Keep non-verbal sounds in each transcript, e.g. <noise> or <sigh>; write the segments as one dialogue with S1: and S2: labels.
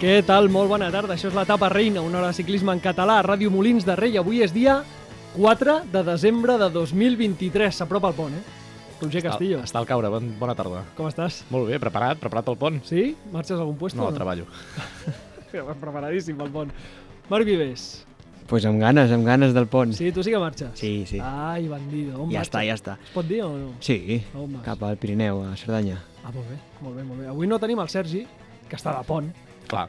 S1: Què tal? Molt bona tarda. Això és l'etapa reina, una hora de ciclisme en català a Ràdio Molins de Rei. Avui és dia 4 de desembre de 2023. S'apropa el pont, eh? Roger Castillo,
S2: Està al caure, bon, bona tarda.
S1: com estàs?
S2: Molt bé, preparat, preparat el pont?
S1: Sí? Marxes a algun lloc?
S2: No,
S1: <laughs>
S2: treballo.
S1: Preparadíssim, el pont. Marc Vives,
S3: Pues amb ganes, amb ganes del pont.
S1: sí, tu sí que marxes?
S3: Sí, sí.
S1: Ai, bandido, on
S3: ja
S1: marxes?
S3: està, ja està.
S1: Es pot dir o no?
S3: Sí,
S1: On vas?
S3: cap al Pirineu, a Cerdanya.
S1: Ah, molt bé, molt bé, molt bé. Avui no tenim el Sergi, que està de pont.
S2: Clar,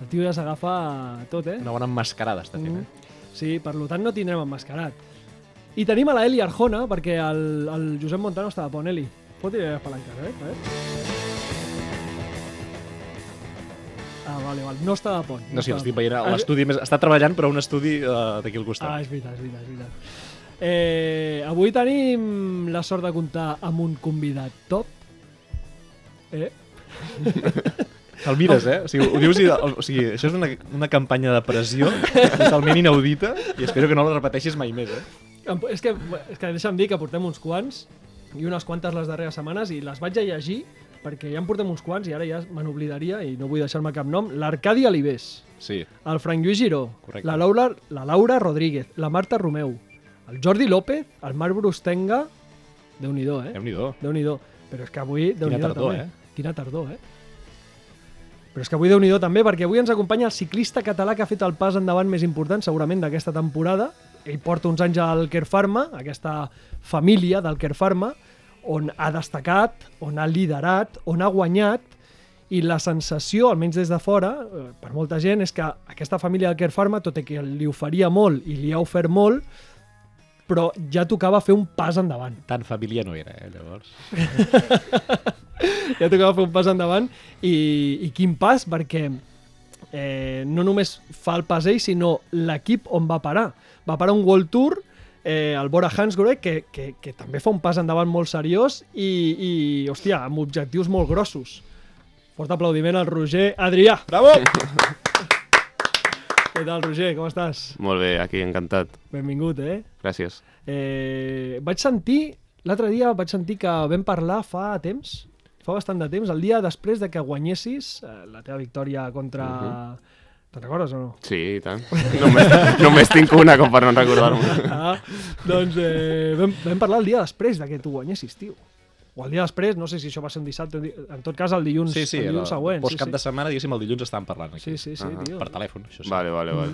S1: El tio ja s'agafa tot, eh?
S2: una bona emmascarada està fent, eh?
S1: Mm. Sí, per lo tant no tindrem emmascarat. I tenim a la Eli Arjona, perquè el, el Josep Montano està de pont, Eli. Pot tirar les palanques, eh? A veure. Ah, vale, vale. No està de pont.
S2: eh? No sé,
S1: està de
S2: l'estic
S1: pont.
S2: veient a
S1: Ah,
S2: l'estudi més... Està treballant, però un estudi eh, d'aquí al
S1: Ah,
S2: costat.
S1: és veritat, és veritat, és veritat. Eh, avui tenim la sort de comptar amb un convidat top. Eh?
S2: Te'l mires, eh? O sigui, ho dius i... O sigui, això és una, una campanya de pressió totalment inaudita i espero que no la repeteixis mai més, eh?
S1: Em- És que, és que deixa'm dir que portem uns quants i unes quantes les darreres setmanes i les vaig a llegir perquè ja en portem uns quants i ara ja me n'oblidaria i no vull deixar-me cap nom. L'Arcadi Alibés,
S2: Sí.
S1: el Frank Lluís Giró,
S2: Correcte.
S1: la Laura, la Laura Rodríguez, la Marta Romeu, el Jordi López, el Marc Brustenga... Déu-n'hi-do, eh?
S2: Déu-n'hi-do.
S1: Déu-n'hi-do. Però és que avui... déu nhi
S2: tardor,
S1: també.
S2: eh?
S1: Quina tardor, eh? Però és que avui déu nhi també, perquè avui ens acompanya el ciclista català que ha fet el pas endavant més important, segurament, d'aquesta temporada. Ell porta uns anys al Care Pharma, aquesta família del Care Pharma, on ha destacat, on ha liderat, on ha guanyat, i la sensació, almenys des de fora, eh, per molta gent, és que aquesta família del Care Pharma, tot i que li oferia molt i li ha ofert molt, però ja tocava fer un pas endavant.
S2: Tan família no era, eh, llavors.
S1: ja tocava fer un pas endavant i, i quin pas perquè eh, no només fa el pas ell sinó l'equip on va parar va parar un World Tour eh, el Bora Hansgrohe que, que, que també fa un pas endavant molt seriós i, i hòstia, amb objectius molt grossos fort aplaudiment al Roger Adrià
S2: Bravo!
S1: què tal Roger, com estàs?
S4: Molt bé, aquí, encantat.
S1: benvingut eh?
S4: Gràcies.
S1: eh vaig sentir l'altre dia vaig sentir que vam parlar fa temps fa bastant de temps, el dia després de que guanyessis eh, la teva victòria contra... Uh
S2: Mhm.
S1: -huh. Te'n recordes o no?
S4: Sí, i tant. <laughs> Només, només tinc una com per no recordar-me.
S1: Ah, doncs eh, vam, vam parlar el dia després de que tu guanyessis, tio. O el dia després, no sé si això va ser un dissabte, un di- en tot cas el dilluns,
S2: Sí, sí,
S1: el dilluns següent.
S2: post cap
S1: sí,
S2: de setmana, diguéssim, el dilluns estàvem parlant aquí.
S1: sí, sí, sí,
S4: Ahà.
S1: tio.
S2: Per telèfon, això sí.
S4: Vale, vale, vale.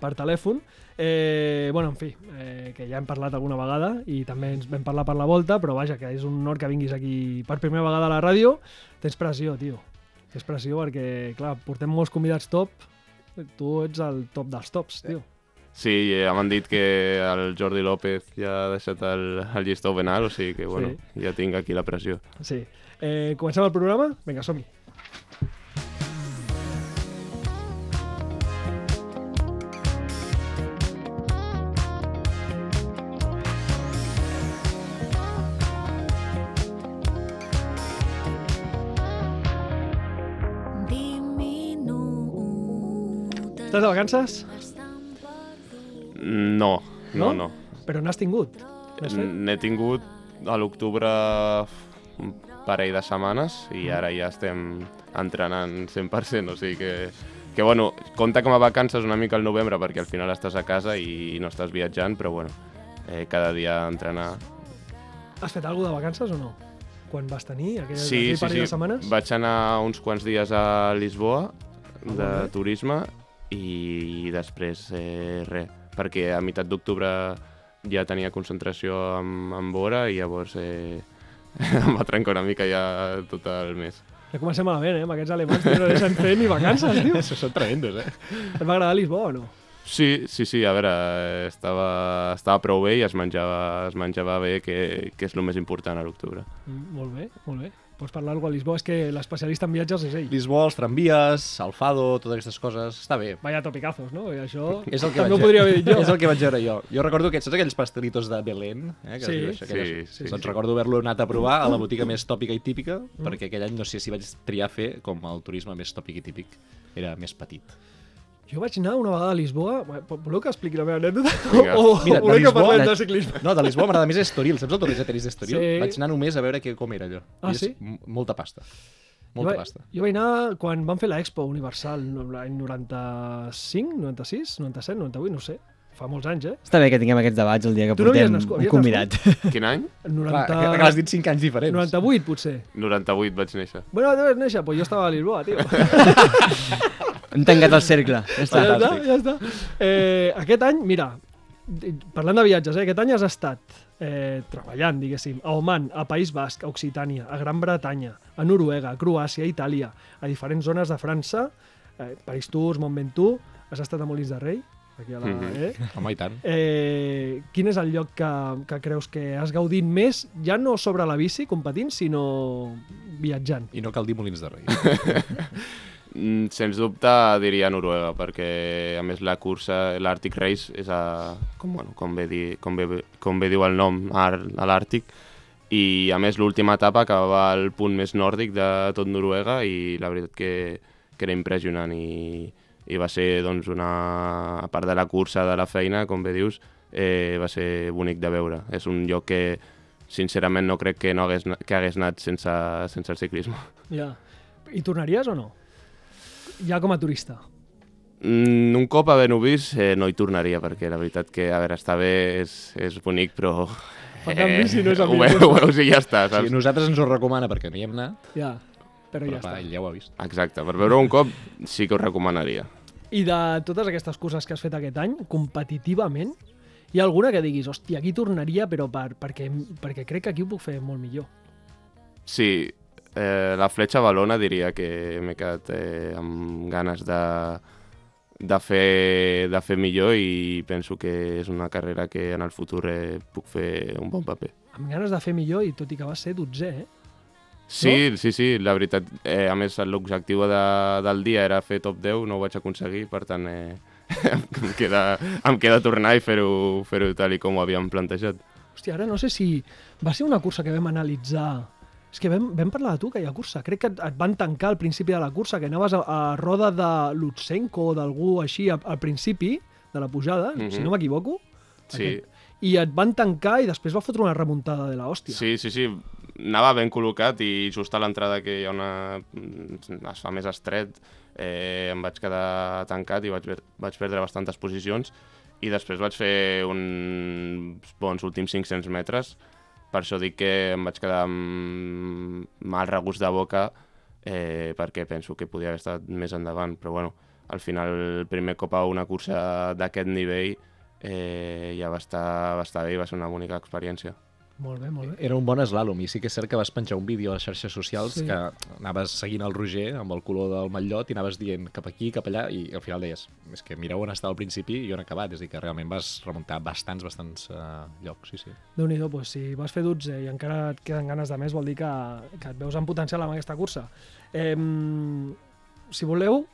S1: per telèfon. Eh, bueno, en fi, eh, que ja hem parlat alguna vegada i també ens vam parlar per la volta, però vaja, que és un honor que vinguis aquí per primera vegada a la ràdio. Tens pressió, tio. Tens pressió perquè, clar, portem molts convidats top, tu ets el top dels tops, tio.
S4: Sí, eh, m'han dit que el Jordi López ja ha deixat el, el llistó penal, o sigui que, bueno, ja tinc aquí la pressió.
S1: Sí. Eh, comencem el programa? Vinga, som-hi. Estàs
S5: Estàs
S1: de vacances?
S4: No, no, no. Mm.
S1: Però n'has tingut? N'has fet?
S4: N'he tingut a l'octubre un parell de setmanes i ara ja estem entrenant 100%, o sigui que, que bueno, compta com a vacances una mica el novembre perquè al final estàs a casa i no estàs viatjant, però bueno, eh, cada dia entrenar.
S1: Has fet alguna de vacances o no? Quan vas tenir? Aquelles
S4: Sí, sí,
S1: aquell parell
S4: sí,
S1: de setmanes? Ah,
S4: vaig anar uns quants dies a Lisboa de
S1: molt bé.
S4: turisme i, i després eh, res, perquè a meitat d'octubre ja tenia concentració amb, amb Bora i llavors eh, <laughs> em va trencar una mica ja tot el mes.
S1: Ja comencem malament, eh? Amb aquests alemanys que no deixen fer ni vacances, tio.
S2: <laughs> Això són tremendos, eh?
S1: Et va agradar Lisboa o no?
S4: Sí, sí, sí, a veure, eh, estava, estava prou bé i es menjava, es menjava bé, que, que és el més important a
S1: <laughs>
S4: l'octubre.
S1: Mm, Molt bé, molt bé. Pots parlar algo a Lisboa, és que l'especialista en viatges és ell.
S2: Lisboa, els tramvies, Alfado, totes aquestes coses. Està bé.
S1: Vaya topicazos, no? I això
S2: És el que
S1: també ho
S2: vaig
S1: podria haver dit jo.
S2: <laughs> És el que vaig veure jo. Jo recordo que, saps aquells pastelitos de Belén? Eh, que
S1: Sí. Mm.
S2: es diu això,
S4: Sí,
S2: aquelles-
S4: sí,
S2: doncs recordo haver-lo anat a provar a la botiga més tòpica i típica, perquè aquell any no sé si vaig triar fer com el turisme més tòpic i típic. Era més petit.
S1: Jo vaig anar una vegada a Lisboa... Bueno, vo- Voleu que expliqui la meva anècdota?
S4: Vinga.
S1: <laughs> O, o
S2: Mira, de
S1: voleu que
S2: Lisboa-
S1: parlem
S2: de-
S1: de ciclisme?
S2: No, de Lisboa m'agrada més Estoril. Saps el torneig de tenis d'Estoril?
S1: Sí.
S2: Vaig anar només a veure que, com era allò.
S1: Ah,
S2: I és
S1: sí?
S2: m- Molta pasta. Molta
S1: jo, vaig-
S2: pasta.
S1: Jo vaig anar quan van fer l'Expo Universal no, l'any 95, 96, 97, 98, no sé. Fa molts anys, eh?
S3: Està bé que tinguem aquests debats el dia que
S1: Tu no havies
S3: portem
S1: nascut-
S3: un
S1: havies
S3: convidat.
S4: Quin any?
S1: 90...
S2: Clar, que, que l'has dit 5 anys diferents.
S1: 98, potser.
S4: 98 vaig néixer.
S1: Bueno, debes néixer, pues jo estava a Lisboa, tio.
S3: <laughs> Hem tancat el cercle. Ja està.
S1: Ah, ja està, ja està. Eh, aquest any, mira, di- parlant de viatges, eh, aquest any has estat eh, treballant, diguéssim, a Oman, a País Basc, a Occitània, a Gran Bretanya, a Noruega, a Croàcia, a Itàlia, a diferents zones de França, eh, París Tours, Mont Ventoux, has estat a Molins de Rei, aquí a la...
S4: Mhm.
S1: Eh?
S2: Home, i tant.
S1: Eh, quin és el lloc que, que creus que has gaudit més, ja no sobre la bici competint, sinó viatjant?
S2: I no cal dir Molins de Rei.
S4: Mm, Sens dubte diria Noruega, perquè a més la cursa, l'Arctic Race, és a, com, bueno, com, bé di, com, bé, com bé diu el nom, ar- a l'Àrtic, i a més l'última etapa acabava al punt més nòrdic de tot Noruega i la veritat que, que era impressionant i, i va ser doncs, una, a part de la cursa de la feina, com bé dius, eh, va ser bonic de veure. És un lloc que sincerament no crec que, no hagués, na- que hagués anat sense, sense el ciclisme.
S1: Ja. I tornaries o no? Ja com a turista.
S4: Mm, un cop havent-ho vist, eh, no hi tornaria, perquè la veritat que, a veure, està bé, és, és bonic, però... eh,
S1: Per canvi, si no és el
S4: ho,
S1: millor.
S4: veus, ho veus i ja està,
S2: O sigui,
S4: saps?
S2: nosaltres ens ho recomana perquè no hi hem anat,
S1: Ja. Però
S2: però
S1: ja
S2: ja,
S1: està.
S2: ell ja ho ha vist.
S4: Exacte, per veure un cop sí que ho recomanaria.
S1: I de totes aquestes curses que has fet aquest any, competitivament, hi ha alguna que diguis, hòstia, aquí tornaria, però per, perquè, perquè crec que aquí ho puc fer molt millor.
S4: Sí, eh, la fletxa balona diria que m'he quedat eh, amb ganes de, de, fer, de fer millor i penso que és una carrera que en el futur eh, puc fer un bon paper.
S1: Amb ganes de fer millor i tot i que va ser 12, eh?
S4: Sí, sí, sí, la veritat. Eh, a més, l'objectiu de, del dia era fer top 10, no ho vaig aconseguir, per tant, eh, <laughs> em, queda, em queda tornar i fer-ho fer tal i com ho havíem plantejat.
S1: Hòstia, ara no sé si va ser una cursa que vam analitzar... És que vam, vam parlar de tu, que hi ha cursa. Crec que et, et van tancar al principi de la cursa, que anaves a, a roda de Lutsenko o d'algú així a- al principi de la pujada, mm -hmm.
S4: Mhm.
S1: si no m'equivoco.
S4: Sí,
S1: I et van tancar i després va fotre una remuntada de la hòstia.
S4: sí, sí, sí, anava ben col·locat i just a l'entrada que hi ha una... es fa més estret, eh, em vaig quedar tancat i vaig, ver- vaig perdre bastantes posicions i després vaig fer uns bons últims 500 metres per això dic que em vaig quedar amb mal regust de boca eh, perquè penso que podia haver estat més endavant, però bueno, al final el primer cop a una cursa d'aquest nivell eh, ja va estar, va estar bé i va ser una bonica experiència.
S1: Molt bé, molt bé.
S2: Era un bon slalom i sí que és cert que vas penjar un vídeo a les xarxes socials
S1: Sí.
S2: sí. que anaves seguint el Roger amb el color del matllot i anaves dient cap aquí, cap allà i al final deies, és que mireu on estava al principi i on ha acabat, és a dir que realment vas remuntar bastants, bastants uh, llocs, sí, sí.
S1: déu nhi pues, doncs, si vas fer 12 i encara et queden ganes de més, vol dir que, que et veus en potencial amb aquesta cursa. Eh, si voleu,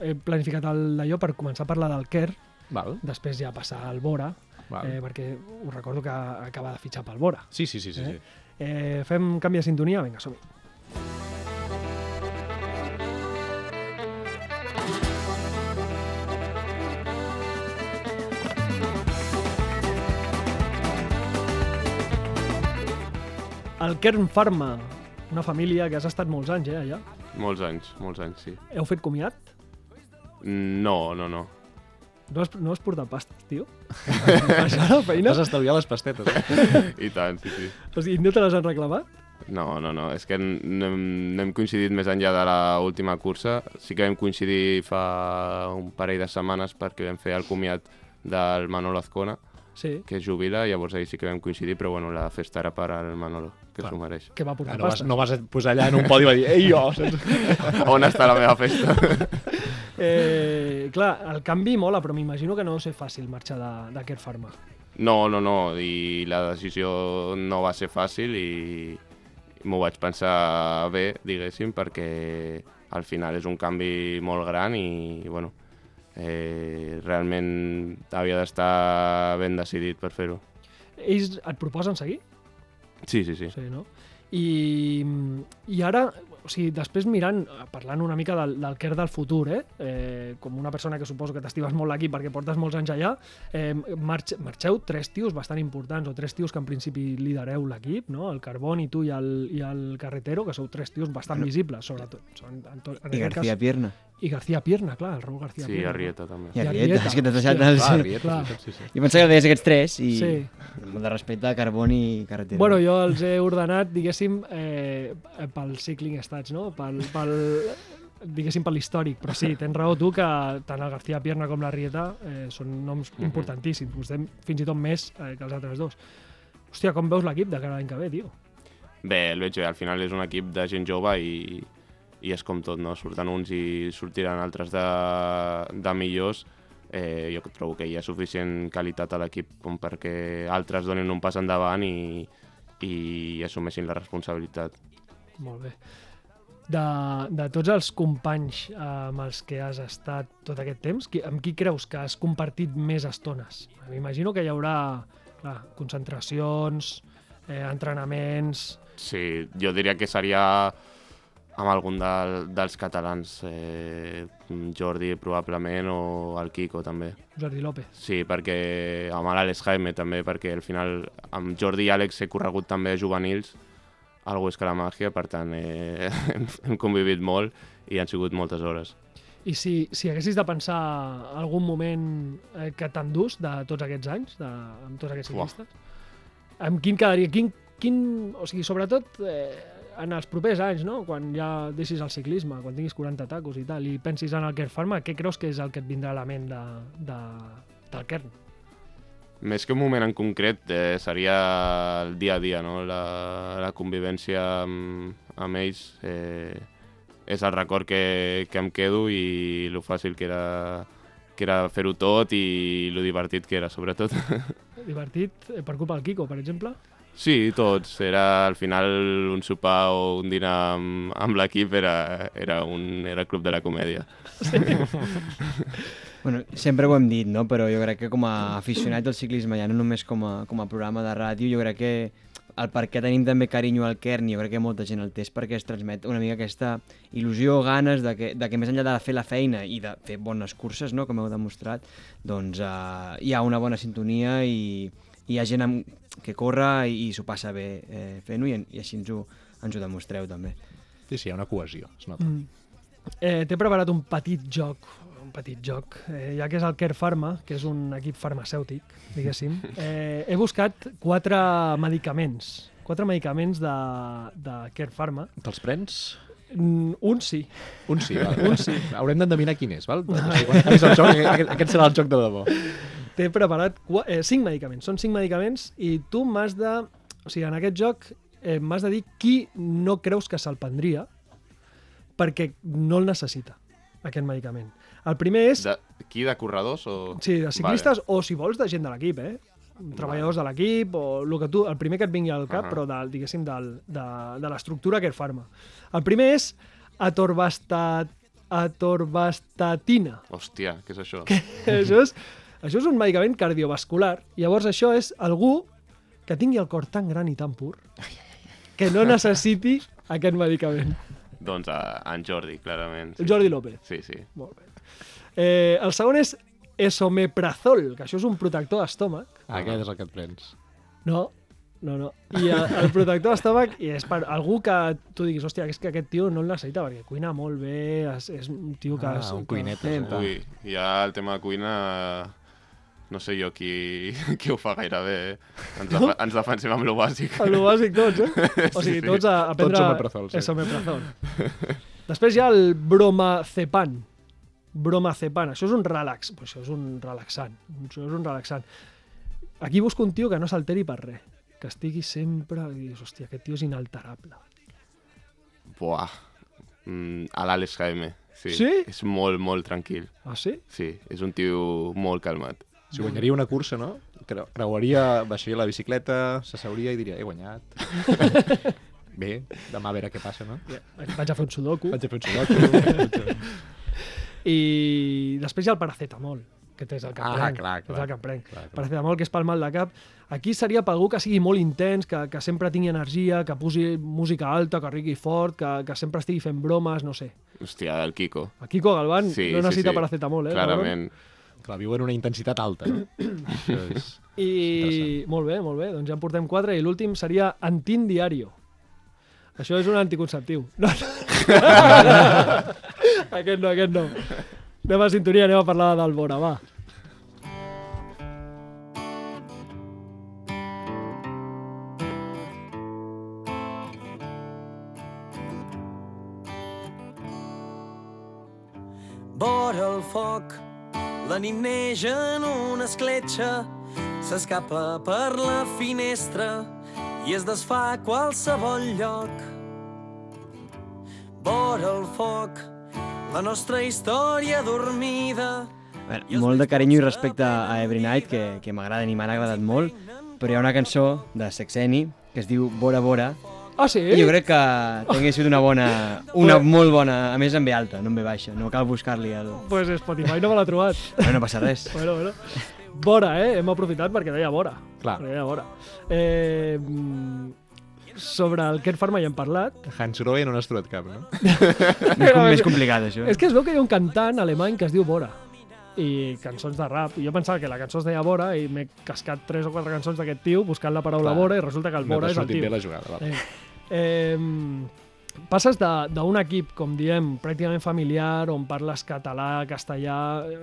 S1: he planificat el d'allò per començar a parlar del Kerr,
S2: Val,
S1: després ja passar al Bora,
S2: val.
S1: eh, perquè us recordo que acaba de fitxar pel Bora.
S2: Sí, sí, sí, sí,
S1: eh?
S2: sí.
S1: Eh, fem canvi de sintonia? Vinga, som -hi. El Kern Pharma, una família que has estat molts anys, eh, allà.
S4: Molts anys, molts anys, sí.
S1: Heu fet comiat?
S4: No, no, no.
S1: No has, no has portat pastes,
S2: <laughs>
S1: tio? Això a la feina?
S2: Vas estalviar les pastetes. Eh?
S4: I tant, sí, sí.
S1: O sigui, no te les han reclamat?
S4: No, no, no, és que n- no hem, no hem coincidit més enllà de la última cursa. Sí que vam coincidir fa un parell de setmanes perquè vam fer el comiat del Manolo Azcona,
S1: Sí.
S4: que es jubila, llavors ahir sí que vam coincidir, però bueno, la festa era per al Manolo, que
S2: Clar.
S4: s'ho
S1: <laughs>
S4: mereix.
S1: Que va portar
S2: Ah, no, vas,
S1: pastes.
S2: no vas a posar allà en un podi i va dir, ei, jo, saps?
S4: On està la meva festa?
S1: Eh, clar, el canvi mola, però m'imagino que no deu ser fàcil marxar de- d'aquest farma.
S4: No, no, no, i la decisió no va ser fàcil i m'ho vaig pensar bé, diguéssim, perquè al final és un canvi molt gran i, bueno, eh, realment havia d'estar ben decidit per fer-ho.
S1: Ells et proposen seguir?
S4: Sí, sí, sí.
S1: Sí, no? I, I ara o sigui, després mirant, eh, parlant una mica del, del Kerr del futur, eh? eh? com una persona que suposo que t'estimes molt l'equip perquè portes molts anys allà, eh, marx, marxeu tres tios bastant importants, o tres tios que en principi lidereu l'equip, no? el Carboni, tu i el, i el Carretero, que sou tres tios bastant visibles, sobretot. En, en, to- en
S3: I
S1: aquest
S3: García Pierna.
S1: Cas, I García Pierna, clar, el Raúl García
S4: Sí,
S1: Pierna.
S4: Arrieta també.
S3: I
S1: I
S3: Arrieta,
S1: Arrieta.
S3: és que t'has deixat...
S1: Hòstia,
S3: El...
S2: Ah, Rieta,
S1: clar.
S2: sí, sí, sí.
S3: Jo pensava que deies aquests tres i...
S1: Sí.
S3: Amb el respecte a Carboni i Carretera.
S1: Bueno, jo els he ordenat, diguéssim, eh, pel Cycling Stats, no? Pel, pel, diguéssim, per l'històric, però sí, tens raó tu que tant el García Pierna com la Rieta eh, són noms importantíssims, vostè fins i tot més eh, que els altres dos. Hòstia, com veus l'equip de cara a l'any que ve, tio?
S4: Bé, el veig bé. Al final és un equip de gent jove i, i és com tot, no? Surten uns i sortiran altres de, de millors. Eh, jo trobo que hi ha suficient qualitat a l'equip com perquè altres donin un pas endavant i, i assumeixin la responsabilitat.
S1: Molt bé. De, de tots els companys eh, amb els que has estat tot aquest temps, qui, amb qui creus que has compartit més estones? M'imagino que hi haurà clar, concentracions, eh, entrenaments...
S4: Sí, jo diria que seria amb algun del, dels catalans, eh, Jordi probablement o el Kiko també.
S1: Jordi López.
S4: Sí, perquè amb l'Àlex Jaime també, perquè al final amb Jordi i Àlex he corregut també a juvenils al Huesca la Màgia, per tant eh, <laughs> hem, hem convivit molt i han sigut moltes hores.
S1: I si, si haguessis de pensar algun moment eh, que t'endús de tots aquests anys, de, amb tots aquests
S4: Uah.
S1: ciclistes, amb quin quedaria? Quin, quin, o sigui, sobretot eh, en els propers anys, no? quan ja deixis el ciclisme, quan tinguis 40 tacos i tal, i pensis en el Kern Pharma, què creus que és el que et vindrà a la ment de, de, del Kern?
S4: Més que un moment en concret, eh, seria el dia a dia, no? la, la convivència amb, amb ells eh, és el record que, que em quedo i lo fàcil que era, que era fer-ho tot i lo divertit que era, sobretot. <laughs>
S1: Divertit eh, per culpa del Kiko, per exemple?
S4: Sí, tots. Era al final un sopar o un dinar amb, amb l'equip era, era, un, era el club de la comèdia.
S3: Bueno, sempre ho hem dit, no? però jo crec que com a aficionat del ciclisme, ja no només com a, com a programa de ràdio, jo crec que el per què tenim també carinyo al Kern, jo crec que molta gent el té és perquè es transmet una mica aquesta il·lusió, ganes de que, de que més enllà de fer la feina i de fer bones curses, no? com heu demostrat, doncs uh, hi ha una bona sintonia i, i hi ha gent amb, que corre i, i s'ho passa bé eh, fent-ho i, en- i així ens ho, ens ho demostreu també.
S2: Sí, sí, hi ha una cohesió, es nota.
S1: Mm. Eh, T'he preparat un petit joc, un petit joc, eh, ja que és el Care Pharma, que és un equip farmacèutic, diguéssim. Eh, he buscat quatre medicaments, quatre medicaments de, de Care Pharma.
S2: Te'ls prens?
S1: Mm, un sí,
S2: Un sí, val. Un sí. Haurem d'endevinar quin és,
S1: Ah.
S2: val? No. Sí, quan acabis el joc, aquest, aquest serà el joc de debò.
S1: t'he preparat cua- eh, cinc medicaments, són cinc medicaments i tu m'has de, o sigui, en aquest joc eh, m'has de dir qui no creus que se'l prendria perquè no el necessita, aquest medicament. El primer és...
S4: De, qui, de corredors? O...
S1: Sí, de ciclistes vale. o, si vols, de gent de l'equip, eh? treballadors de l'equip o el que tu, el primer que et vingui al cap,
S4: Ahà.
S1: però del, diguéssim, del, de, de l'estructura que farma. El primer és
S4: <laughs>
S1: atorbastat, atorvastatina.
S4: Vale. Hòstia, què és això?
S1: això, és, això és un medicament cardiovascular. Llavors això és algú que tingui el cor tan gran i tan pur que no necessiti aquest medicament.
S4: doncs a, en Jordi, clarament.
S1: El Jordi López.
S4: Sí, sí.
S1: Molt bé. Eh, el segon és esomeprazol, que això és un protector d'estómac
S2: Ah, aquest és el que et prens.
S1: No, no, no. I el, el protector d'estómac i és per algú que tu diguis, hòstia, és que aquest tio no el necessita perquè cuina molt bé, és, és un tio que...
S2: Ah,
S1: és,
S2: un
S1: que-
S2: cuinet.
S3: Epa.
S4: Ui, ja el tema de cuina... No sé jo qui, <laughs> qui ho fa gaire bé, eh? Ens, defa ens defensem amb lo bàsic.
S1: El bàsic tots,
S2: <laughs>
S1: eh? O sigui,
S4: Sí, sí.
S1: tots a, a
S2: Tots
S1: prendre...
S2: omeprazol, sí.
S1: esomeprazol. Després hi ha el bromacepan. Bromacepan, això és un relax. Pues això és un relaxant. Això és un relaxant. Aquí busco un tio que no s'alteri per res. Que estigui sempre... I dius, hòstia, aquest tio és inalterable.
S4: <laughs> Buah. Mm, a l'Àlex Jaime. Sí.
S1: Sí?
S4: És molt, molt tranquil.
S1: Ah, sí?
S4: Sí, és un tio molt calmat.
S2: Si guanyaria una cursa, no? Creu, creuaria, baixaria la bicicleta, s'asseuria i diria, he <laughs> guanyat. Bé, demà a veure què passa, no?
S1: Vaig a fer un
S2: <laughs>
S1: sudoku.
S2: Vaig a fer un sudoku.
S1: I després hi ha el paracetamol. aquest és el que
S2: Ah,
S1: em prenc.
S2: clar,
S1: aquest és
S2: clar.
S1: el que em prenc.
S2: Clar, clar.
S1: Paracetamol, que és pel mal de cap. Aquí seria per algú que sigui molt intens, que, que sempre tingui energia, que posi música alta, que rigui fort, que, que sempre estigui fent bromes, no sé.
S4: Hòstia, el Kiko.
S1: El Kiko Galván
S4: Sí,
S1: no necessita
S4: sí, sí.
S1: paracetamol, eh?
S4: Clarament.
S2: Clar, viu en una intensitat alta. No? Això és...
S1: I molt bé, molt bé, doncs ja en portem quatre i l'últim seria Antin Diario. Això és un anticonceptiu. <laughs> No, no. aquest no, aquest no. Anem a sintonia, anem a parlar d'Albora, va.
S5: vora el foc. La nit neix en una escletxa, s'escapa per la finestra i es desfà a qualsevol lloc. Vora el foc, la nostra història dormida.
S3: A Veure, molt de carinyo i
S1: eh,
S3: respecte a Every Night, que, que m'agraden i m'han agradat molt, però hi ha una cançó de Sexeni que es diu Bora Bora,
S1: Ah, sí?
S3: i jo crec que
S1: Eh?
S3: tingués sigut una
S1: <laughs>
S3: bona, una molt bona, a més en ve alta, no en ve baixa, no cal buscar-li el...
S1: Pues Spotify no me l'ha trobat.
S3: No, no passa
S1: <laughs>
S3: res.
S1: bueno, bueno. Vora, eh? Hem aprofitat perquè deia vora.
S2: Clar.
S1: Perquè deia vora. Eh, mm, sobre el Ken Pharma ja hem parlat.
S2: Hans Grohe no n'has trobat cap, no?
S3: Més, com, més complicat, això.
S1: És que es veu que hi ha un cantant alemany que es diu Bora i cançons de rap. I jo pensava que la cançó es deia Bora i m'he cascat tres o quatre cançons d'aquest tio buscant la paraula
S2: Clar.
S1: Bora i resulta que el
S2: No
S1: Bora
S2: t'ha
S1: és el
S2: sortit
S1: tio.
S2: bé la jugada. Val.
S1: Eh, eh, passes de- d'un equip, com diem, pràcticament familiar, on parles català, castellà,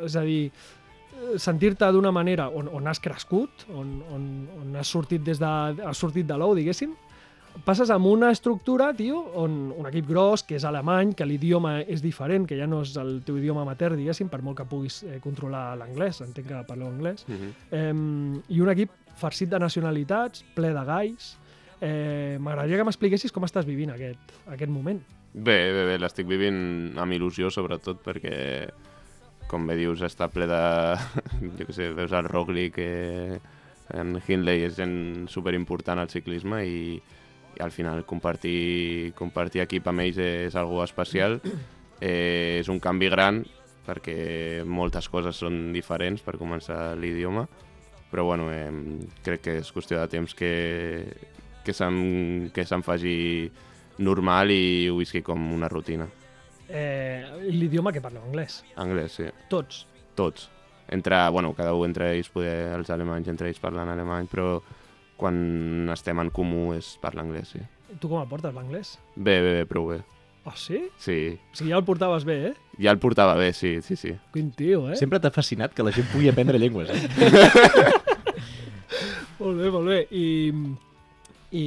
S1: és a dir, eh, sentir-te d'una manera on, on has crescut, on, on, on has sortit, des de, has sortit de l'ou, diguéssim, passes amb una estructura, tio, on un equip gros, que és alemany, que l'idioma és diferent, que ja no és el teu idioma matern, diguéssim, per molt que puguis eh, controlar l'anglès, entenc que parleu anglès,
S4: Mhm.
S1: eh, i un equip farcit de nacionalitats, ple de gais. Eh, M'agradaria que m'expliquessis com estàs vivint aquest, aquest moment.
S4: Bé, bé, bé, l'estic vivint amb il·lusió, sobretot, perquè, com bé dius, està ple de... <laughs> jo què sé, veus el Roglic, eh, en Hindley, és gent superimportant al ciclisme i, i al final compartir, compartir equip amb ells és algo especial. Eh, és un canvi gran, perquè moltes coses són diferents per començar l'idioma, però bueno, eh, crec que és qüestió de temps que, que se'n que se'n faci normal i whisky com una rutina.
S1: Eh, L'idioma que parlo, anglès.
S4: Anglès, sí.
S1: Tots.
S4: Tots. Entre, bueno, cada un entre ells, poder, els alemanys entre ells parlen alemany, però quan estem en comú és parlar anglès, sí.
S1: Tu com el portes, l'anglès?
S4: Bé, bé, bé, prou bé.
S1: Ah, oh, sí?
S4: Sí.
S1: O sigui, ja el portaves bé, eh?
S4: Ja el portava bé, sí, sí, sí.
S1: Quin tio, eh?
S2: Sempre t'ha fascinat que la gent pugui aprendre llengües. Eh?
S1: Molt bé, molt bé. I, i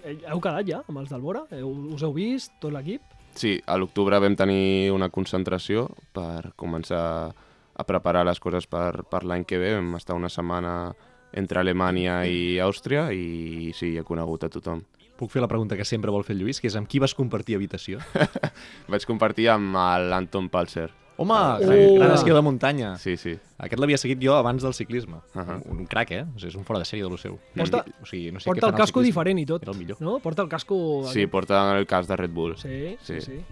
S1: eh, heu quedat ja amb els del Bora? Heu, us heu vist, tot l'equip?
S4: Sí, a l'octubre vam tenir una concentració per començar a preparar les coses per, per l'any que ve. Vam estar una setmana entre Alemanya i Àustria i sí, he conegut a tothom.
S2: Puc fer la pregunta que sempre vol fer el Lluís, que és amb qui vas compartir habitació?
S4: Vaig compartir amb l'Anton Palser.
S2: Home,
S4: Sí.
S2: gran- gran
S1: Uh.
S2: esquí de muntanya.
S4: Sí, sí.
S2: Aquest l'havia seguit jo abans del ciclisme. Uh
S4: Ahà.
S2: -huh. Un crac, eh? O sigui, és un fora de sèrie de lo seu.
S1: Porta-
S2: o sigui, no sé
S1: Sí, Porta
S2: què
S1: el
S2: fan al
S1: casco
S2: ciclisme.
S1: diferent i tot.
S2: Era el millor.
S1: No? Porta el casco...
S4: Sí, porta el cas de Red Bull. Sí.
S1: Sí, sí,
S4: Sí.
S1: sí.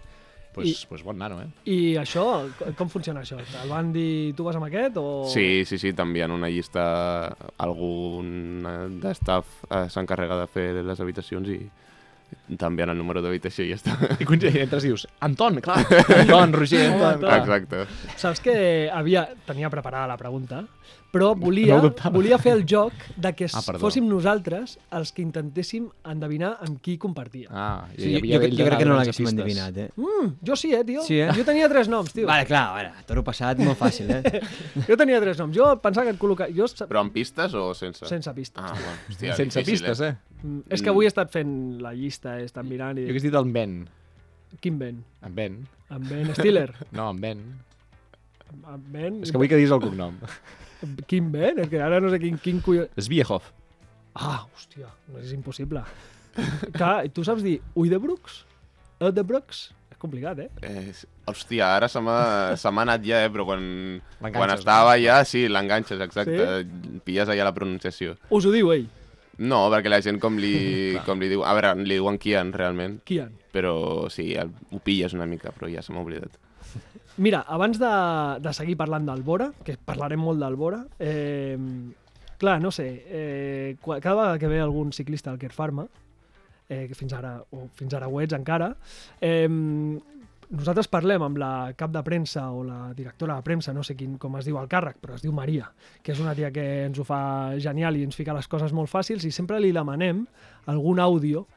S2: Pues, pues bon nano, eh?
S1: I això, com funciona això? El van dir, tu vas amb aquest o...?
S4: Sí, sí, sí, t'envien una llista, algun eh, d'estaf eh, s'encarrega de fer les habitacions i t'envien el número d'habitació i ja està.
S2: I quan hi entres dius, Anton, <laughs> clar, Anton, Roger, Anton, Ah, clar.
S4: Exacte.
S1: Saps que havia, tenia preparada la pregunta, però volia,
S2: No ho dubtava.
S1: volia fer el joc de que
S2: Ah, perdó.
S1: fóssim nosaltres els que intentéssim endevinar amb qui compartia. Ah.
S2: Ah,
S3: Sí, jo, jo, jo crec que no l'haguéssim endevinat, eh?
S1: Mm, jo sí, eh, tio?
S3: Sí, eh?
S1: Jo tenia tres noms, tio.
S3: Vale, clar, a veure, a toro passat, molt fàcil,
S1: <laughs>
S3: eh?
S1: Jo tenia tres noms. Jo pensava que et col·locava... Jo sa-
S4: Però amb pistes o sense?
S1: sense pista.
S4: Ah, bueno, hòstia,
S2: Sense
S4: difícil,
S2: pistes, eh?
S1: Mm, és que avui he estat fent la llista, eh, he estat mirant i
S2: Jo
S1: dic,
S2: hagués dit el Ben.
S1: quin Ben?
S2: En Ben.
S1: En Ben Stiller?
S2: No, en Ben.
S1: En Ben?
S2: És que vull que diguis el cognom.
S1: Quin Ben? És que ara no sé quin, quin collons...
S2: Sviehoff.
S1: Ah, hòstia, no és
S2: <laughs>
S1: impossible. Clar, tu saps dir Uidebrooks? Uidebrooks? És complicat, eh?
S4: Eh, hòstia, ara se m'ha se m'ha anat ja, eh? Però quan, quan
S2: L'enganxes,
S4: estava ja, sí, l'enganxes, exacte. Sí? Pilles allà la pronunciació.
S1: Us ho diu ell,
S4: No, perquè la gent com
S2: <laughs>
S4: li, com li diu... A veure, li diuen Kian, realment.
S1: Kian.
S4: Però sí, el, ho pilles una mica, però ja se m'ha oblidat.
S1: Mira, abans de, de seguir parlant d'Albora, que parlarem molt d'Albora, eh, clar, no sé, eh, qua- cada vegada que ve algun ciclista al Kerr Pharma, eh, que fins ara, o fins ara ho ets encara, eh, nosaltres parlem amb la cap de premsa o la directora de premsa, no sé quin, com es diu el càrrec, però es diu Maria, que és una tia que ens ho fa genial i ens fica les coses molt fàcils i sempre li demanem algun àudio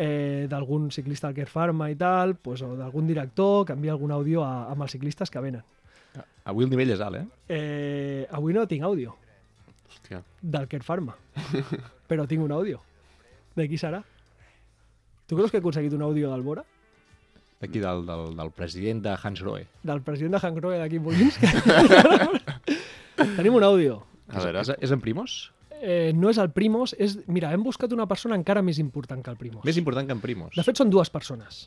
S1: eh, d'algun ciclista al Kerr Pharma i tal, pues, o d'algun director que envia algun àudio a, amb els ciclistes que venen.
S2: Avui el nivell és alt, eh?
S1: Eh, avui no tinc àudio
S4: Hòstia.
S1: del Kerr
S2: <laughs>
S1: Pharma, però tinc un àudio. De qui serà? Tu creus que he aconseguit un àudio del Bora?
S2: D'aquí del, del, del president de Hans Roe.
S1: Del president de Hank Roe d'aquí Bolinsk?
S2: <laughs>
S1: Tenim un àudio.
S4: A veure,
S2: És, és en Primos?
S1: Eh, no és el Primos, és... Mira, hem buscat una persona encara més important que el Primos.
S2: Més important que en Primos.
S1: De fet, són dues persones.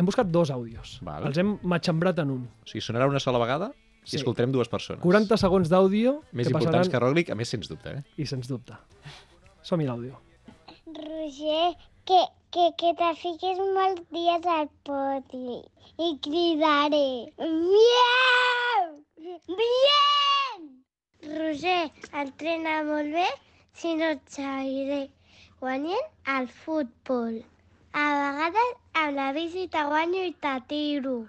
S1: Hem buscat dos àudios.
S2: Val.
S1: Els hem matxembrat en un.
S2: O sigui, sonarà una sola vegada i
S1: Sí.
S2: escoltarem dues persones.
S1: 40 segons d'àudio
S2: Més
S1: que
S2: importants
S1: passaran...
S2: que Roglic, a més, sens dubte, eh?
S1: I sens dubte. Som-hi l'àudio.
S6: Roger, que, que, que te fiquis molts dies al poti i cridaré. Miau! Bien! Roger, entrena molt bé, si no et seguiré guanyant al futbol. A vegades amb la bici te guanyo i te tiro.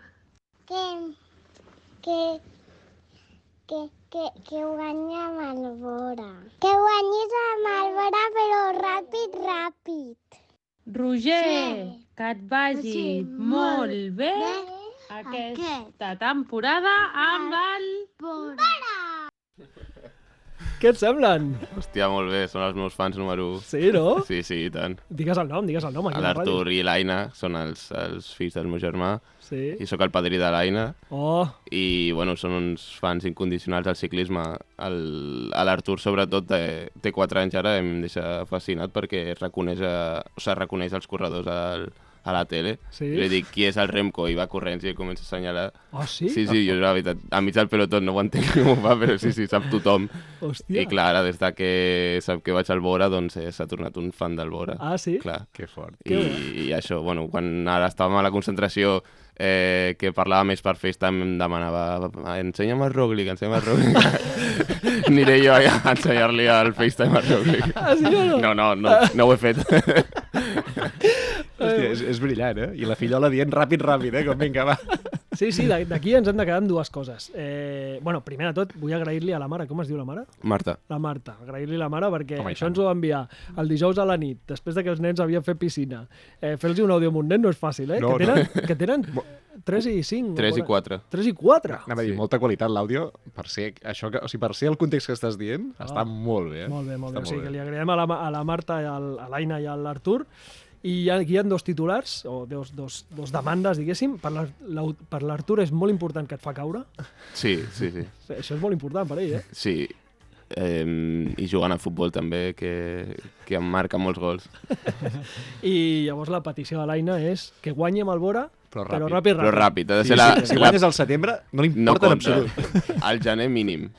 S6: Que, que, que, que, que guanya Malbora. Que guanyis a Malbora, però ràpid, ràpid. 네.
S7: Roger,
S6: Sí.
S7: que et vagi
S6: Sí, molt
S7: molt bé aquesta temporada amb el...
S1: Què et semblen?
S4: hòstia, molt bé, són els meus fans número 1.
S1: Sí, no?
S4: Sí, sí, i tant.
S1: Digues el nom, digues el nom. Aquí a la ràdio.
S4: L'Artur i l'Aina són els, els fills del meu germà
S1: Sí.
S4: i sóc el padrí de l'Aina
S1: Oh,
S4: i bueno, són uns fans incondicionals del ciclisme. El- a L'Artur, sobretot, té, té 4 anys ara, em deixa fascinat perquè reconeix, a, o sigui, reconeix els corredors al, a la tele.
S1: Sí?
S4: I Li dic, qui és el Remco? I va corrents i comença a assenyalar.
S1: oh sí?
S4: Sí, sí, jo la veritat, a mig del pelotó no ho entenc <laughs> com ho fa, però sí, sí, sap tothom.
S1: Hòstia.
S4: I clar, ara, des de que sap que vaig al Bora, doncs eh, s'ha tornat un fan del Bora.
S1: Ah, sí?
S4: Clar.
S2: Que fort.
S4: I, I això, bueno, quan ara estàvem a la concentració eh, que parlava més per FaceTime em demanava ensenya'm el Roglic, ensenya'm el
S1: <laughs>
S4: Roglic. Aniré jo allà a ensenyar-li el FaceTime al Roglic.
S1: Ah, sí o no?
S4: No, no, no, no ho he fet.
S2: Hòstia, és, és brillant, eh? I la fillola dient ràpid, ràpid, eh? Com vinga, va.
S1: Sí, sí, d'a- d'aquí ens hem de quedar amb dues coses. Eh, bueno, primer de tot, vull agrair-li a la mare, com es diu la mare?
S4: Marta,
S1: La Marta. Agrair-li a la mare perquè
S2: Home, i
S1: això
S2: tant.
S1: ens ho va enviar el dijous a la nit, després de que els nens havien fet piscina. Eh, Fer-los un àudio amb un nen no és fàcil, eh?
S2: No,
S1: que tenen, que tenen 3 i 5.
S4: 3 i 4.
S1: 3 i 4?
S2: Anava a dir,
S4: Sí.
S2: molta qualitat l'àudio, per ser això que, o sigui, per ser el context que estàs dient, està molt bé. Eh?
S1: Molt bé, molt bé.
S2: Està
S1: O sigui, que li agraïm a la, Ma- a la Marta, i al- a l'Aina i a l'Artur. I hi ha, aquí hi ha dos titulars, o dos, dos, dos demandes, diguéssim. Per l'Ar- l'au- per l'Artur és molt important que et fa caure.
S4: Sí, sí, sí.
S1: Això és molt important per ell, eh?
S4: sí. Eh, I jugant a futbol també, que, que em marca molts gols.
S1: I llavors la petició de l'Aina és que guanyi amb el Bora,
S2: Però
S1: però ràpid,
S2: ràpid.
S1: ràpid.
S4: Però ràpid, ha de
S2: Si,
S4: ser la...
S2: si, si
S4: la...
S2: guanyes al setembre, no li
S4: No
S2: importa no en
S4: compta.
S2: absolut.
S4: Al gener mínim.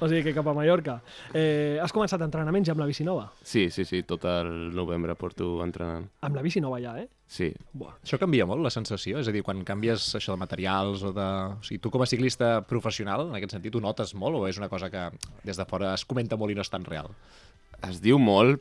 S1: O sigui que cap a Mallorca. Eh, has començat entrenament ja amb la bici nova?
S4: Sí, sí, sí, tot el novembre porto entrenant.
S1: Amb la bici nova ja, eh?
S4: Sí,
S1: Buah.
S2: Això canvia molt, la sensació? És a dir, quan canvies això de materials o de... O sigui, tu com a ciclista professional, en aquest sentit, ho notes molt o és una cosa que des de fora es comenta molt i no és tan real?
S4: es diu molt,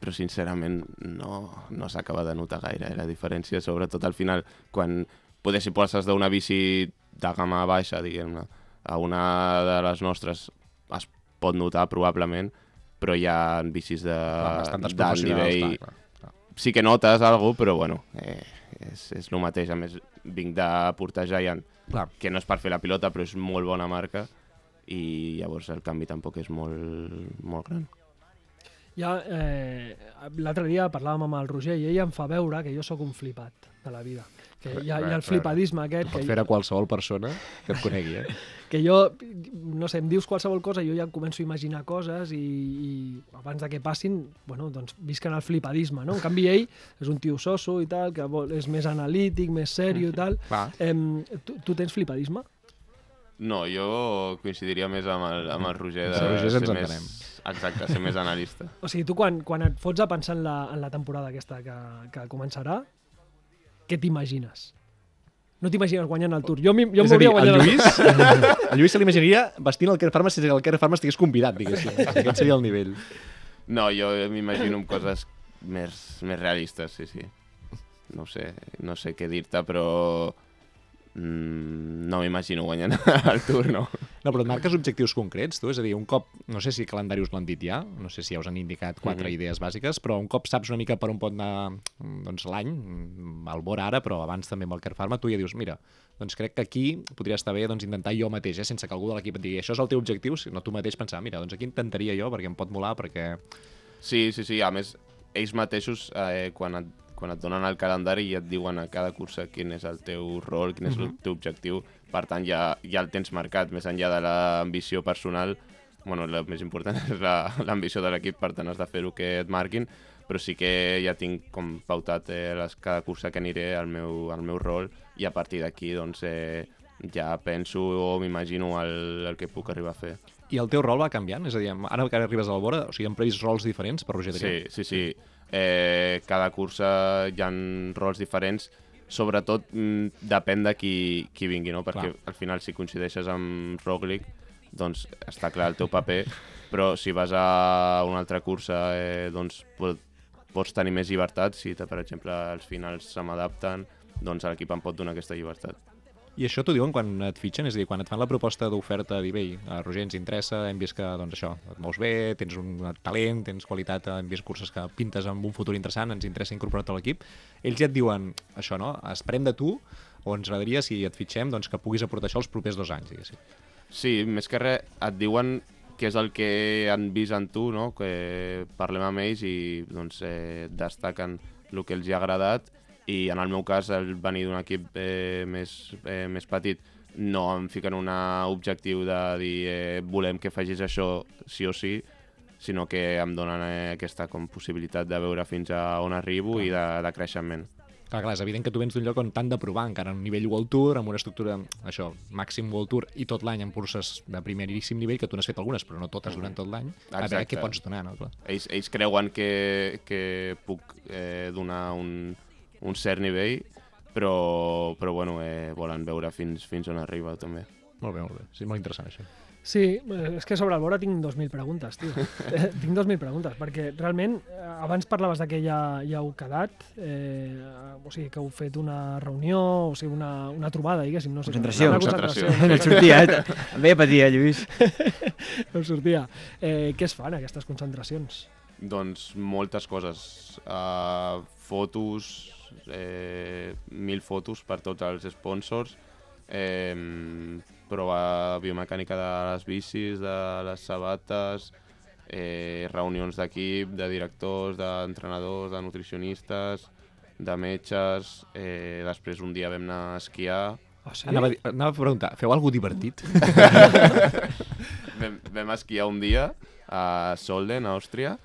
S4: però sincerament no, no s'acaba de notar gaire eh, la diferència, sobretot al final, quan poder si passes d'una bici de gamma baixa, diguem-ne, a una de les nostres es pot notar probablement, però hi ha bicis de,
S2: Amb estàndards
S4: d'alt
S2: professionals,
S4: nivell...
S2: clar, clar.
S4: sí que notes alguna però bueno, eh, és, és el mateix. A més, vinc de portar Giant,
S2: Clar.
S4: que no és per fer la pilota, però és molt bona marca, i llavors el canvi tampoc és molt, molt gran.
S1: Ja, eh, l'altre dia parlàvem amb el Roger i ell em fa veure que jo sóc un flipat de la vida. Que hi ha, hi ha el flipadisme aquest,
S2: Pot
S1: que,
S2: fer a qualsevol persona que et conegui, eh?
S1: que jo, no sé, em dius qualsevol cosa i jo ja em començo a imaginar coses i, i abans de que passin, bueno, doncs visquen el flipadisme, no? En canvi ell és un tio soso i tal, que vol, és més analític, més serio i tal.
S2: Mhm. Va.
S1: Em, tu, tu tens flipadisme?
S4: No, jo coincidiria més amb el, amb el Roger de
S2: Amb el Roger ens
S4: ser
S2: entenem.
S4: més... Exacte, ser més analista.
S1: O sigui, tu quan, quan et fots a pensar en la, en la temporada aquesta que, que començarà, què t'imagines? No t'imagines guanyant el Tour. Jo, mi- jo
S2: és
S1: m'hauria
S2: a dir,
S1: guanyat
S2: el
S1: el <laughs>
S2: Lluís, el Lluís se l'imaginaria vestint el Care Farma sense que el Care Farma estigués convidat, diguéssim. Aquest seria el nivell.
S4: No, jo m'imagino amb coses més, més realistes, sí, sí. No ho sé, no sé què dir-te, però mm, no m'imagino guanyant <laughs> el Tour, no.
S2: No, però et marques objectius concrets, tu? És a dir, un cop, no sé si calendari us l'han dit ja, no sé si ja us han indicat quatre
S1: Mm-hmm.
S4: Mhm.
S2: idees bàsiques, però un cop saps una mica per on pot anar mm, doncs, l'any, mm, al Bor ara, però abans també amb el Care Pharma, tu ja dius, mira, doncs crec que aquí podria estar bé doncs, intentar jo mateix, eh, sense que algú de l'equip et digui això és el teu objectiu, sinó tu mateix pensar, mira, doncs aquí intentaria jo perquè em pot molar, perquè...
S4: Sí, sí, sí, a més, ells mateixos, eh, quan, et, quan et donen el calendari i et diuen a cada cursa quin és el teu rol, quin és el teu objectiu, per tant ja, ja el tens marcat, més enllà de l'ambició personal, bueno, el més important <laughs> és la- l'ambició de l'equip, per tant has de fer el que et marquin, però sí que ja tinc com pautat eh, les, cada cursa que aniré, el meu, el meu rol, i a partir d'aquí doncs, eh, ja penso o m'imagino el, el que puc arribar a fer.
S2: I el teu rol va canviant? És a dir, ara que arribes a la Bora, o sigui, han previst rols diferents per Roger Adrià?
S4: Sí, sí, sí. Eh, cada cursa hi han rols diferents, sobretot mm, depèn de qui, qui vingui, no? Perquè
S2: Clar.
S4: al final si coincideixes amb Roglic, doncs està clar el teu
S2: <laughs>
S4: paper, però si vas a una altra cursa, eh, doncs pot, pots tenir més llibertat, si te- per exemple els finals se m'adapten, doncs l'equip em pot donar aquesta llibertat.
S2: I això t'ho diuen quan et fitxen? És a dir, quan et fan la proposta d'oferta a dir, bé, a Roger ens interessa, hem vist que doncs, això, et mous bé, tens un talent, tens qualitat, hem vist curses que pintes amb un futur interessant, ens interessa incorporar-te a l'equip. Ells ja et diuen això, no? Esperem de tu o ens agradaria, si et fitxem, doncs, que puguis aportar això els propers dos anys, diguéssim.
S4: Sí, més que res, et diuen què és el que han vist en tu, no? que parlem amb ells i doncs, eh, destaquen el que els hi ha agradat i en el meu cas el venir d'un equip eh, més, eh, més petit no em fiquen un objectiu de dir eh, volem que facis això sí o sí, sinó que em donen eh, aquesta com possibilitat de veure fins a on arribo i de, de creixement.
S2: Clar, clar, és evident que tu vens d'un lloc on t'han de provar encara en un nivell World Tour, amb una estructura, això, màxim World Tour, i tot l'any en curses de primeríssim nivell, que tu n'has fet algunes, però no totes durant tot l'any, a veure
S4: Exacte.
S2: què pots donar, no? Clar.
S4: ells, ells creuen que, que puc eh, donar un, un cert nivell, però, però bueno, eh, volen veure fins, fins on arriba també.
S2: Molt bé, molt bé. Sí, molt interessant, això.
S1: Sí, eh, és que sobre el Bora tinc 2.000 preguntes, tio. Eh, tinc 2.000 preguntes, perquè realment, eh, abans parlaves de que ja, ja heu quedat, eh, o sigui, que heu fet una reunió, o sigui, una, una trobada, diguéssim. No sé,
S3: Concentració.
S1: Una
S4: Concentració.
S1: concentració.
S3: No et sortia, eh? Bé patia, Lluís.
S1: No em sortia. Eh, què es fan, aquestes concentracions?
S4: Doncs moltes coses. Uh, fotos, eh, mil fotos per tots els sponsors, eh, prova biomecànica de les bicis, de les sabates, eh, reunions d'equip, de directors, d'entrenadors, de nutricionistes, de metges, eh, després un dia vam anar a esquiar,
S1: Ah, sí?
S2: Anava, a dir- anava a preguntar, feu alguna
S3: <laughs>
S2: divertit?
S4: vam, vam esquiar un dia a Solden, a Àustria,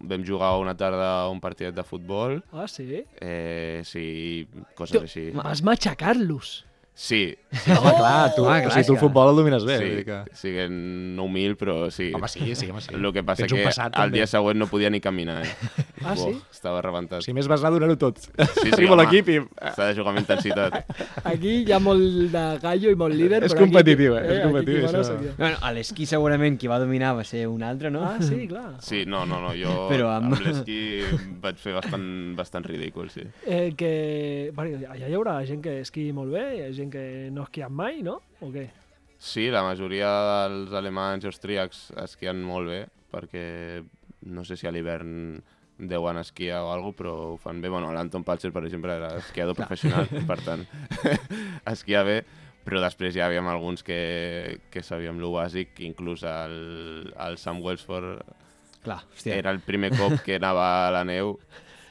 S4: vam jugar una tarda a un partidet de futbol,
S1: Ah, sí?
S4: Eh, sí, coses així.
S1: Vas matxacar-los.
S4: Sí,
S2: Home, clar, tu,
S3: Ah,
S2: o sigui,
S3: clar,
S2: tu el
S3: clar.
S2: futbol el domines bé. Sí.
S4: sí,
S2: Vull dir que...
S4: siguen no humil, però sí.
S2: Home, sí, sí, home, sí.
S4: El que passa
S2: Tens un
S4: que
S2: passat,
S4: el
S2: també.
S4: dia següent no podia ni caminar, eh?
S1: Ah, sí?
S4: Estava rebentat.
S2: Si més vas anar a donar-ho tot.
S4: sí,
S2: Arriba
S4: home.
S2: l'equip i...
S4: S'ha de jugar amb intensitat.
S1: Aquí hi ha molt de gallo i molt líder.
S2: És
S1: però aquí-
S2: competitiu, eh? És
S1: aquí qui
S2: competitiu,
S1: mana
S2: això.
S1: sóc jo.
S3: Bueno, a l'esquí segurament qui va dominar va ser un altre, no?
S1: Ah, sí, clar.
S4: Sí, no, no, no, jo
S3: Però amb-
S4: amb, l'esquí vaig fer bastant, bastant ridícul, sí.
S1: Eh, que... Bueno, allà hi haurà gent que esqui molt bé, hi ha gent que no ha esquiat mai, no? O què?
S4: Sí, la majoria dels alemanys i austríacs esquien molt bé, perquè no sé si a l'hivern deuen esquiar o alguna però ho fan bé. Bueno, l'Anton Palcher, per exemple, era esquiador professional,
S2: <laughs>
S4: per tant, <laughs> esquia bé, però després ja hi havíem alguns que, que sabíem lo bàsic, inclús el, el Sam Wellsford
S3: Clar, hòstia.
S4: era el primer cop que anava a la neu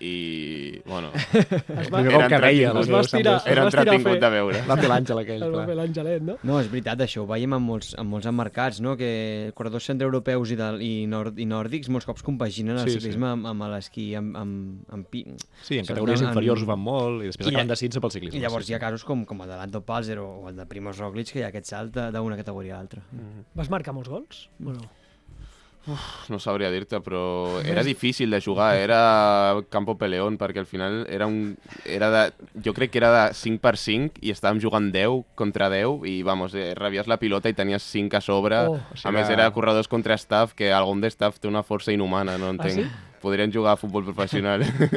S4: i, bueno,
S1: Es
S2: Primer cop que reia.
S4: entretingut.
S1: es va estirar.
S4: era
S1: vas tirar a
S4: entretingut
S1: fer-
S4: de veure.
S2: Va fer l'Àngel aquell,
S1: El va fer
S2: clar.
S1: l'Angelet, no?
S3: No, és veritat, això ho veiem en molts, en molts emmarcats, no? que corredors centreeuropeus i, del, i, nord, i nòrdics molts cops compaginen el
S2: Sí, sí.
S3: sí, ciclisme amb, amb l'esquí, amb, amb, amb, pi...
S2: Sí, en
S3: Sobretot
S2: categories
S3: en-
S2: inferiors ho fan molt i després
S3: I-
S2: acaben de cinza pel ciclisme.
S3: I llavors
S2: sí,
S3: hi ha casos com, com el de l'Anto Palzer o, o el
S2: Mm.
S3: de Primoz Roglic, que hi ha aquest salt de- d'una categoria a l'altra.
S1: Vas marcar molts gols? Bueno,
S4: no sabria dir-te,
S1: <laughs>
S4: però era difícil de jugar, era Campo Peleón, perquè al final era un... Era de, jo crec que era de 5 per 5 i estàvem jugant 10 contra 10 i, vamos, eh, rebies la pilota i tenies 5 a sobre.
S1: Oh.
S4: Oh, o sigui, a més, era corredors contra staff, que algun de staff té una força inhumana, no entenc.
S1: Ah, sí?
S4: Podrien jugar a futbol
S1: <laughs>
S4: professional. sí,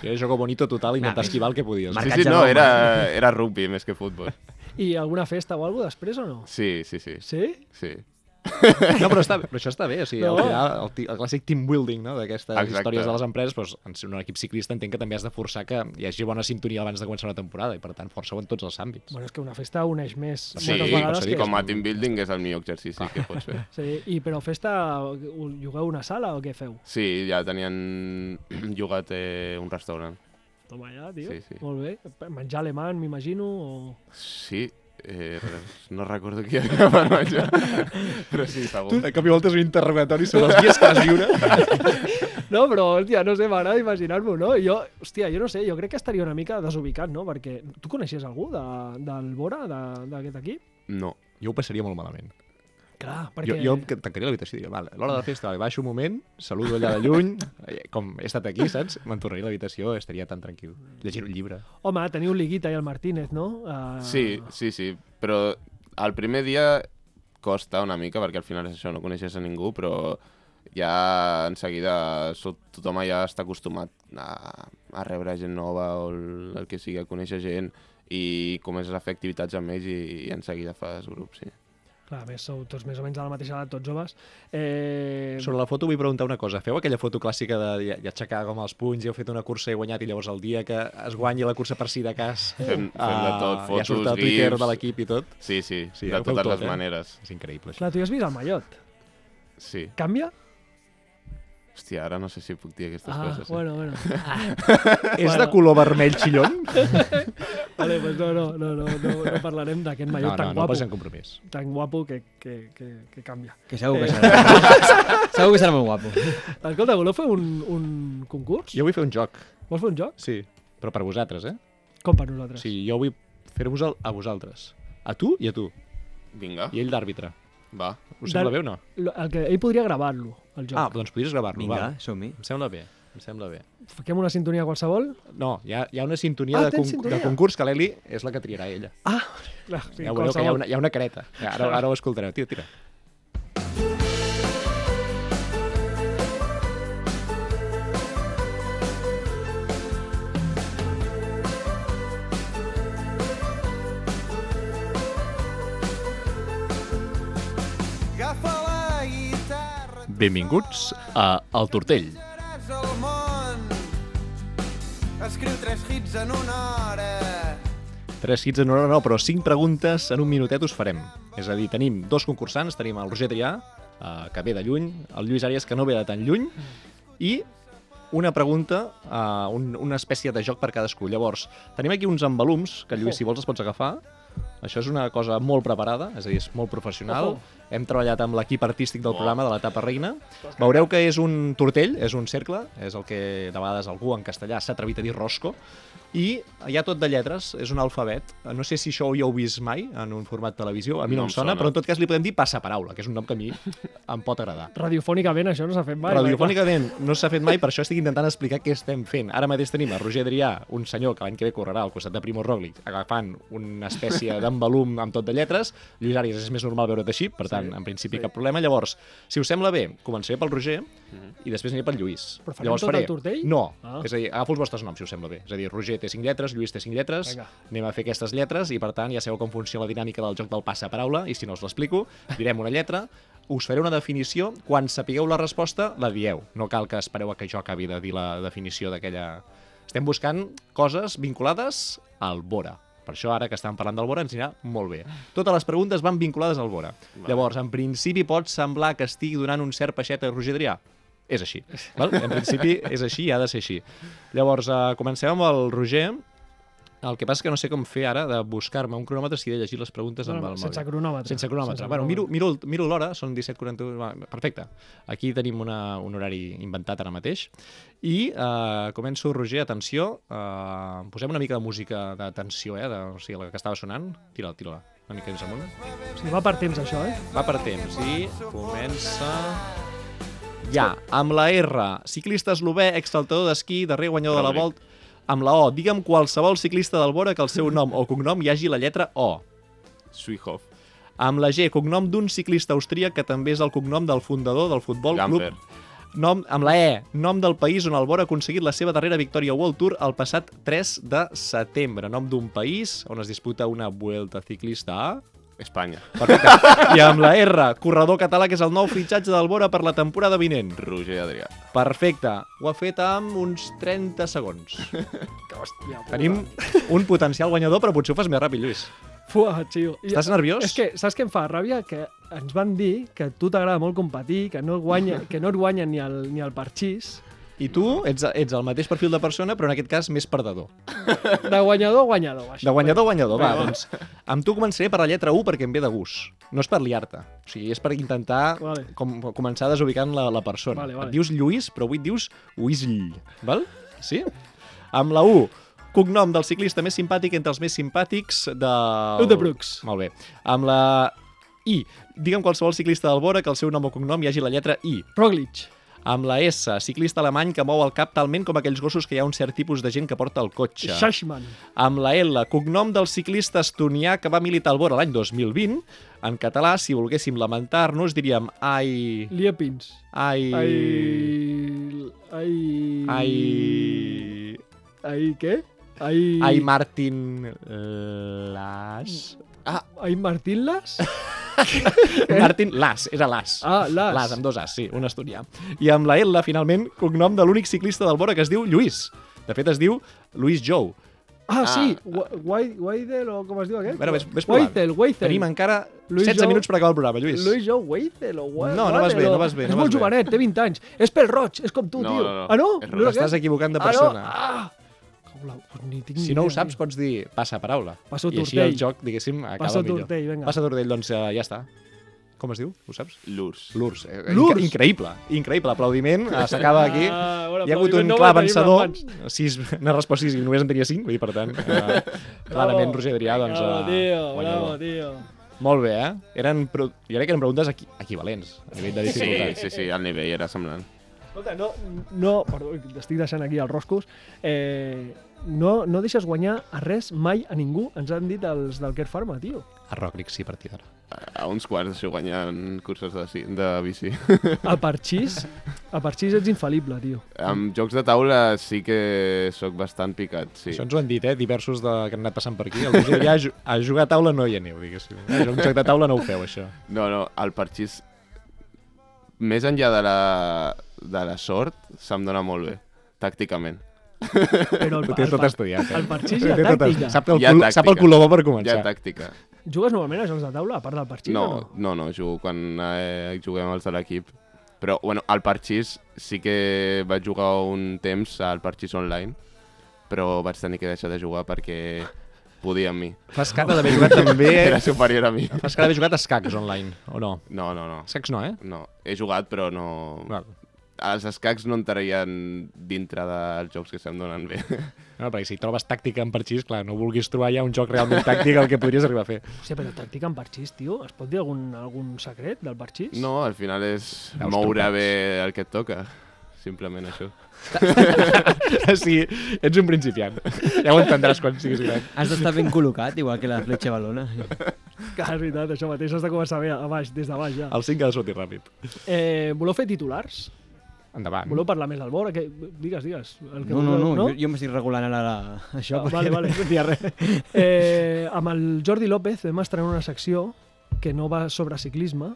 S2: Sí, era jogo bonito total, intentar
S3: Nah,
S2: esquivar el que podies.
S3: Marc-
S4: sí, no, era, era rugby més que futbol.
S1: I alguna festa o alguna després o no?
S4: Sí, sí, sí.
S1: Sí?
S4: sí.
S2: No, però, està, però això està bé, o sigui,
S1: No.
S2: al final, el, ti- el clàssic team building no? d'aquestes
S4: Exacte.
S2: històries de les empreses, doncs, en ser un equip ciclista entenc que també has de forçar que hi hagi bona sintonia abans de començar una temporada i per tant força-ho en tots els àmbits.
S1: Bueno, és que una festa uneix més
S4: Sí,
S1: moltes
S4: com,
S1: vegades.
S2: s'ha dit,
S1: que... Ah.
S4: com a team building és el millor exercici que pots fer.
S1: Sí, i però festa, ho- jugueu a una sala o què feu?
S4: Sí, ja tenien <clears throat> llogat eh, un restaurant.
S1: Toma ja, tio.
S4: Sí, sí.
S1: Molt bé. Menjar alemany, m'imagino, o... <laughs>
S4: Sí, eh, no recordo qui era per menjar,
S2: <laughs>
S4: però sí, segur.
S2: de cop i volta és un interrogatori sobre <laughs> els dies que vas viure.
S1: No, però, hòstia, no sé, m'agrada imaginar-m'ho, no? Jo, hòstia, jo no sé, jo crec que estaria una mica desubicat, no? Perquè tu coneixies algú de, del Bora, de- d'aquest equip?
S4: No.
S2: Jo ho passaria molt malament.
S1: Clar,
S2: Perquè...
S1: perquè...
S2: Jo, jo em tancaria l'habitació i diria, vale, l'hora de la festa, vale, baixo un moment, saludo allà de lluny, eh, com he estat aquí, saps? Me'n tornaria a l'habitació, estaria tan tranquil. Llegir un llibre.
S1: Home, teniu Liguita i el Martínez, no?
S2: Ah.
S1: Uh...
S4: Sí, sí, sí, però el primer dia costa una mica, perquè al final és això, no coneixes a ningú, però ja en seguida so- tothom ja està acostumat a, a rebre gent nova o el, el que sigui, a conèixer gent i comences a fer activitats amb ells i, i en seguida fas grups, sí.
S1: Clar, a més, sou tots més o menys de la mateixa edat, tots joves. Eh...
S2: Sobre la foto vull preguntar una cosa. Feu aquella foto clàssica de i- i aixecar com els punys i heu fet una cursa i he guanyat i llavors el dia que es guanyi la cursa per si de cas...
S4: Fem- fem de
S2: ah,
S4: tot,
S2: Ja
S4: fotos,
S2: surt el Twitter
S4: gifs.
S2: de l'equip i tot.
S4: Sí, sí,
S2: Sí,
S4: sí
S2: ja
S4: de
S2: ho feu
S4: totes
S2: tot,
S4: les
S2: eh?
S4: maneres.
S2: És increïble, això.
S1: Clar, tu ja has vist el Mallot.
S4: Sí.
S1: Canvia?
S4: Hòstia, ara no sé si puc dir aquestes
S1: Ah,
S4: coses. eh?
S1: bueno, bueno.
S2: És de color vermell xillon?
S1: Vale, pues no, no, no, no, no, no parlarem d'aquest Mallot
S2: <laughs> no, no,
S1: tan
S2: no
S1: guapo.
S2: posen compromís.
S1: Tan guapo que, que, que, que canvia.
S3: Que segur que
S2: Eh.
S3: serà. <laughs> segur que serà molt guapo.
S1: Escolta, voleu fer un, un concurs?
S2: Jo vull fer un joc,
S1: Vols fer un joc?
S2: sí, però per vosaltres, eh?
S1: Com per nosaltres.
S2: Sí, jo vull fer-vos el- a vosaltres. A tu i a tu.
S4: Vinga,
S2: I ell d'àrbitre.
S4: va.
S2: Us sembla
S1: Del-
S2: bé o no?
S1: Lo- El que, ell podria gravar-lo, el joc.
S2: Ah, doncs podries gravar-lo,
S3: Vinga,
S2: va.
S3: som-hi.
S2: Em sembla bé, em sembla bé.
S1: Fiquem una sintonia qualsevol?
S2: No, hi ha, hi ha una sintonia,
S1: Ah,
S2: de,
S1: tens
S2: con
S1: sintonia?
S2: de concurs que l'Eli és la que triarà ella. Ah,
S1: Clar, sí,
S2: ja veureu que hi ha una, hi ha una careta. Ja, Ara, ara ho escoltareu. Tira, tira.
S5: Agafa la guitarra,
S2: Benvinguts a El Tortell.
S5: seràs el món. Escriu tres hits en una hora.
S2: Tres hits en una hora, no, però cinc preguntes en un minutet us farem. És a dir, tenim dos concursants, tenim el Roger Trià, eh, que ve de lluny, el Lluís Àries, que no ve de tan lluny, i una pregunta, eh, un, una espècie de joc per cadascú. Llavors, tenim aquí uns embalums, que Lluís, si vols, els pots agafar. Això és una cosa molt preparada, és a dir, és molt professional.
S1: Ojo.
S2: Hem treballat amb l'equip artístic del programa de l'etapa reina. Veureu que és un tortell, és un cercle, és el que de vegades algú en castellà s'ha atrevit a dir rosco, i hi ha tot de lletres, és un alfabet. No sé si això ho hi heu vist mai en un format televisió, a mi no, no em sona, sona, però en tot cas li podem dir passaparaula, que és un nom que a mi em pot agradar.
S1: Radiofònicament això no s'ha fet mai.
S2: Radiofònicament no s'ha fet mai, per això estic intentant explicar què estem fent. Ara mateix tenim a Roger Adrià, un senyor que l'any que ve correrà al costat de Primo Roglic, agafant una espècie d'embalum amb tot de lletres. Lluís Àries és més normal veure't així, per tant, en principi cap problema. Llavors, si us sembla bé, començaré pel Roger i després aniré pel Lluís.
S1: Però farem tot el tortell?
S2: No,
S1: Ah.
S2: és a dir, agafo els vostres noms, si us sembla bé. És a dir, Roger té 5 lletres, Lluís té 5 lletres,
S1: Vinga.
S2: anem a fer aquestes lletres i, per tant, ja sabeu com funciona la dinàmica del joc del passaparaula i si no us l'explico, direm una lletra, us faré una definició, quan sapigueu la resposta, la dieu. No cal que espereu a que jo acabi de dir la definició d'aquella... Estem buscant coses vinculades al Bora. Per això, ara que estàvem parlant del Bora, ens anirà molt bé. Totes les preguntes van vinculades al Bora. Llavors, en principi pot semblar que estigui donant un cert peixet a Roger Adrià. És així. Val? En principi és així i ha de ser així. Llavors, eh, comencem amb el Roger. El que passa és que no sé com fer ara de buscar-me un cronòmetre si he de llegir les preguntes amb el
S1: Bueno,
S2: mòbil.
S1: sense cronòmetre.
S2: Sense cronòmetre. bueno, miro, miro, el- miro l'hora, són 17.41. va, Perfecte. Aquí tenim una, un horari inventat ara mateix. I eh, començo, Roger, atenció. Eh, posem una mica de música de tensió, eh? De, o sigui, la que estava sonant. Tira-la, tira-la. Una mica més amunt.
S1: O sigui, va per temps això, eh?
S2: Va per temps i comença... Ja, amb la R, ciclista eslové, exsaltador d'esquí, darrer guanyador de la
S4: Roglic.
S2: volta... Amb la O, digue'm qualsevol ciclista del Bora que el seu nom o cognom hi hagi la lletra O.
S4: Suihoff.
S2: Amb la G, cognom d'un ciclista austríac que també és el cognom del fundador del Futbol
S4: Gamper.
S2: Club. Nom, amb la E, nom del país on el Bora ha aconseguit la seva darrera victòria World Tour el passat 3 de setembre. Nom d'un país on es disputa una Vuelta Ciclista a...
S4: Espanya.
S2: Perfecte. I amb la R, corredor català, que és el nou fitxatge del Bora per la temporada vinent.
S4: Roger Adrià.
S2: Perfecte. Ho ha fet amb uns 30 segons. Hòstia, Tenim un potencial guanyador, però potser ho fas més ràpid, Lluís.
S1: Fuà, tio. I-
S2: Estàs nerviós?
S1: És que, saps què em fa ràbia? Que ens van dir que a tu t'agrada molt competir, que no, et
S2: <laughs>
S1: guanya, que no et guanyen ni el, ni el parxís.
S2: I tu ets, ets el mateix perfil de persona, però en aquest cas més perdedor.
S1: De guanyador, guanyador. Això.
S2: De guanyador, guanyador, va, doncs. Amb tu començaré per la lletra U perquè em ve de gust. No és per liar-te. O sigui, és per intentar
S1: Vale.
S2: com, començar desubicant la, la persona.
S1: Vale, vale.
S2: Et dius Lluís, però avui et dius Uisll. Val? Sí? Amb la U, cognom del ciclista més simpàtic entre els més simpàtics de...
S1: Ut de Brooks.
S2: Molt bé. Amb la I, digue'm qualsevol ciclista del Bora que el seu nom o cognom hi hagi la lletra I.
S1: Roglic.
S2: Amb la S, ciclista alemany que mou el cap talment com aquells gossos que hi ha un cert tipus de gent que porta el cotxe
S1: Shashman.
S2: amb la L, cognom del ciclista estonià que va militar al Bora l'any 2020. En català, si volguéssim lamentar-nos, diríem ai...
S1: Liepins.
S2: ai...
S1: Ai... Ai...
S2: ai...
S1: Ai, què? Ai...
S2: ai Martin Las...
S1: Ai Martín Las?
S2: Martin Las, era Las.
S1: Eh? Ah, Las.
S2: Las, amb dos As, sí, un asturià. I amb la L, finalment, cognom de l'únic ciclista del Bora que es diu Lluís. De fet, es diu Lluís Jou.
S1: Ah, sí. Wa- Wai- Weidel, o com es diu aquest?
S2: Bueno, ves- ves provant.
S1: Weidel, Weidel.
S2: Tenim encara
S1: Lluís
S2: 16
S1: Jou-
S2: minuts per acabar el programa, Lluís.
S1: Luis Jou Weidel o Wa-
S2: No, no vas bé,
S1: Weidel,
S2: no
S1: o-
S2: vas bé,
S1: És
S2: no vas
S1: molt
S2: bé.
S1: jovenet, té 20 anys. És pel roig, és com tu,
S4: No,
S1: tio.
S4: no, no.
S1: Ah, no?
S4: És
S1: no és
S2: T'estàs
S1: aquest?
S2: equivocant
S1: Ah,
S2: de
S1: no?
S2: persona.
S1: Ah! Cau la- pues ni tinc
S2: Si
S1: ni
S2: no ho
S1: idea,
S2: saps,
S1: tio.
S2: pots dir passa paraula.
S1: Passa
S2: I així
S1: tortell.
S2: el joc, diguéssim, acaba
S1: Passa
S2: millor.
S1: tortell, vinga.
S2: Passa tortell, doncs eh, ja està. Com es diu? Ho saps?
S4: Lurs.
S2: L'urs. Eh,
S1: L'urs!
S2: inca- Increïble, increïble. Aplaudiment, eh, s'acaba aquí.
S1: Ah, bon
S2: Hi ha hagut
S1: aplaudiment,
S2: un
S1: no
S2: clar
S1: vol tenir
S2: vencedor.
S1: mans.
S2: Sis, n'ha respost sis i només en tenia cinc, vull dir, per tant,
S1: <laughs>
S2: eh, clarament Roger Adrià, doncs,
S1: Bravo,
S2: eh,
S1: tio, bravo,
S2: guanyador.
S1: tio.
S2: Molt bé, eh? Eren, pro- jo crec que eren preguntes equi equivalents a nivell de
S4: Sí,
S2: dificultat.
S4: sí, sí, el nivell era semblant.
S1: Escolta, no, no, perdó, estic deixant aquí els roscos. Eh, no, no deixes guanyar a res mai a ningú, ens han dit els del Care Pharma, tio.
S2: A Roglic sí, a partir d'ara.
S4: A uns quarts d'això guanyant curses de, ci- de
S2: <laughs>
S4: bici.
S1: El parxís, el parxís ets infal·lible, tio.
S4: Amb jocs de taula sí que sóc bastant picat, sí.
S2: Això ens ho han dit, eh? Diversos de... que han anat passant per aquí. El Roger Adrià a ju- a jugar a taula no hi aneu, diguéssim. A un joc de taula no ho feu, això.
S4: No, no, el parxís, més enllà de la, de la sort, se'm dona molt bé, tàcticament.
S1: Però el,
S2: Ho té
S1: el,
S2: tot
S1: par-
S2: estudiat.
S1: el parxís i
S2: Ho
S1: la
S2: té tot-
S1: tàctica.
S2: Sap el,
S4: Hi ha
S2: cul,
S4: tàctica.
S2: sap el color bo per
S4: Hi ha
S2: començar.
S4: tàctica.
S1: Jugues normalment a jocs de taula, a part del parxís o
S4: No,
S1: no?
S4: no, no, jugo quan eh, juguem els de l'equip. Però, bueno, al parxís sí que vaig jugar un temps al parxís online, però vaig tenir que deixar de jugar perquè podia amb mi.
S2: Fas cara d'haver jugat
S4: <laughs>
S2: també...
S4: Era superior a mi.
S2: Fas cara d'haver jugat a escacs online, o no?
S4: No, no, no.
S2: Escacs no, eh?
S4: No, he jugat, però no...
S2: Val.
S4: Els escacs no entrarien dintre dels jocs que se'm donen bé.
S2: No, perquè si trobes tàctica en parxís, clar, no vulguis trobar ja un joc realment tàctic el que podries arribar a fer. <laughs>
S1: Hòstia, però tàctica en parxís, tio. Es pot dir algun, algun secret del parxís?
S4: No, al final és
S2: Veus
S4: moure
S2: trucats.
S4: bé el que et toca. Simplement això.
S2: sí, ets un principiant. <laughs> Ja ho entendràs quan siguis gran.
S3: Has d'estar ben col·locat, igual que la fletxa
S2: <laughs>
S3: balona.
S1: Que és veritat, això mateix has de començar bé a baix, des de baix ja.
S2: El 5 ha de sortir ràpid.
S1: Eh, voleu fer titulars?
S2: Endavant.
S1: Voleu parlar més del Bora? Que, digues, digues. El que
S3: No, no, no,
S1: vulgueu,
S3: no? jo, jo m'estic regulant ara la,
S1: Ah,
S3: això. perquè
S1: vale, vale.
S3: No sentia res.
S1: Eh, amb el Jordi López vam estrenar una secció que no va sobre ciclisme,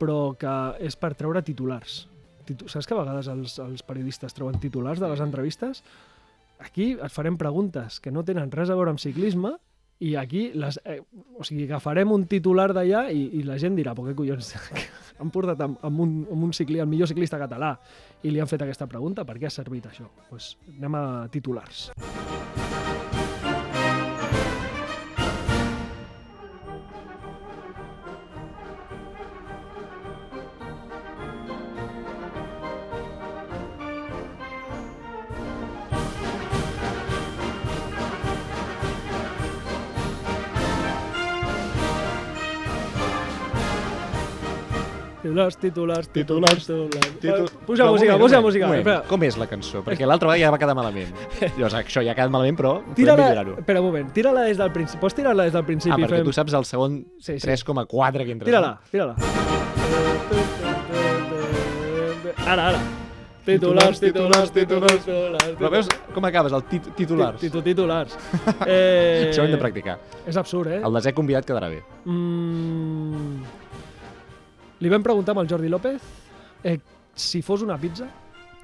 S1: però que és per treure titulars. Titu Saps que a vegades els, els periodistes treuen titulars de les entrevistes? Aquí et farem preguntes que no tenen res a veure amb ciclisme i aquí les, eh, o sigui, agafarem un titular d'allà i, i la gent dirà, però què collons <laughs> han portat amb, amb, un, amb un cicli, el millor ciclista català i li han fet aquesta pregunta, per què ha servit això? Pues anem a titulars. Déu-n'hi-do, Titulars, titulars,
S2: Titulars,
S1: titulars, titulars.
S2: Titu-
S1: Eh, Posa
S2: No, un
S1: música,
S2: moment,
S1: posa
S2: un moment,
S1: música.
S2: un moment.
S1: Espera,
S2: Com és la cançó? Perquè l'altra vegada ja va
S1: <laughs>
S2: quedar malament. Llavors, això ja ha quedat malament, però podem
S1: Tira-la,
S2: millorar-ho.
S1: espera un moment, tira-la des del principi. Pots tirar-la des del principi?
S2: Ah, perquè
S1: fem-
S2: tu saps el segon
S1: Sí, sí.
S2: 3,4 que entra.
S1: Tira-la, tira-la. Ara, ara. Titulars, titulars, titulars, titulars.
S2: Però veus com acabes, el tit titulars.
S1: Titu-
S2: <laughs>
S1: Titulars. Eh...
S2: Això ho hem de practicar.
S1: És absurd, eh?
S2: El desè convidat quedarà bé.
S1: Mm... Li vam preguntar amb el Jordi López eh, si fos una pizza,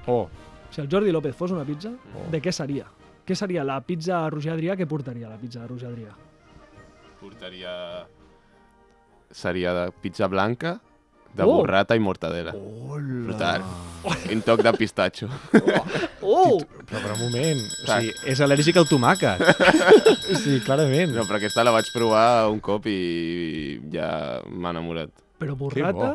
S2: Oh,
S1: si el Jordi López fos una pizza, de què seria? Què seria la pizza de Roger Adrià? Què portaria la pizza de Roger Adrià?
S4: Portaria... Seria de pizza blanca, de
S1: Oh. Ah.
S4: borrata i mortadela. Hola. Brutal. I un toc de pistatxo.
S1: <laughs> Oh!
S2: però per un moment. O sigui, és al·lèrgic al <laughs> tomàquet. sí, clarament.
S4: No, però aquesta la vaig provar un cop i ja m'ha enamorat.
S1: Però
S2: Que
S1: borrata,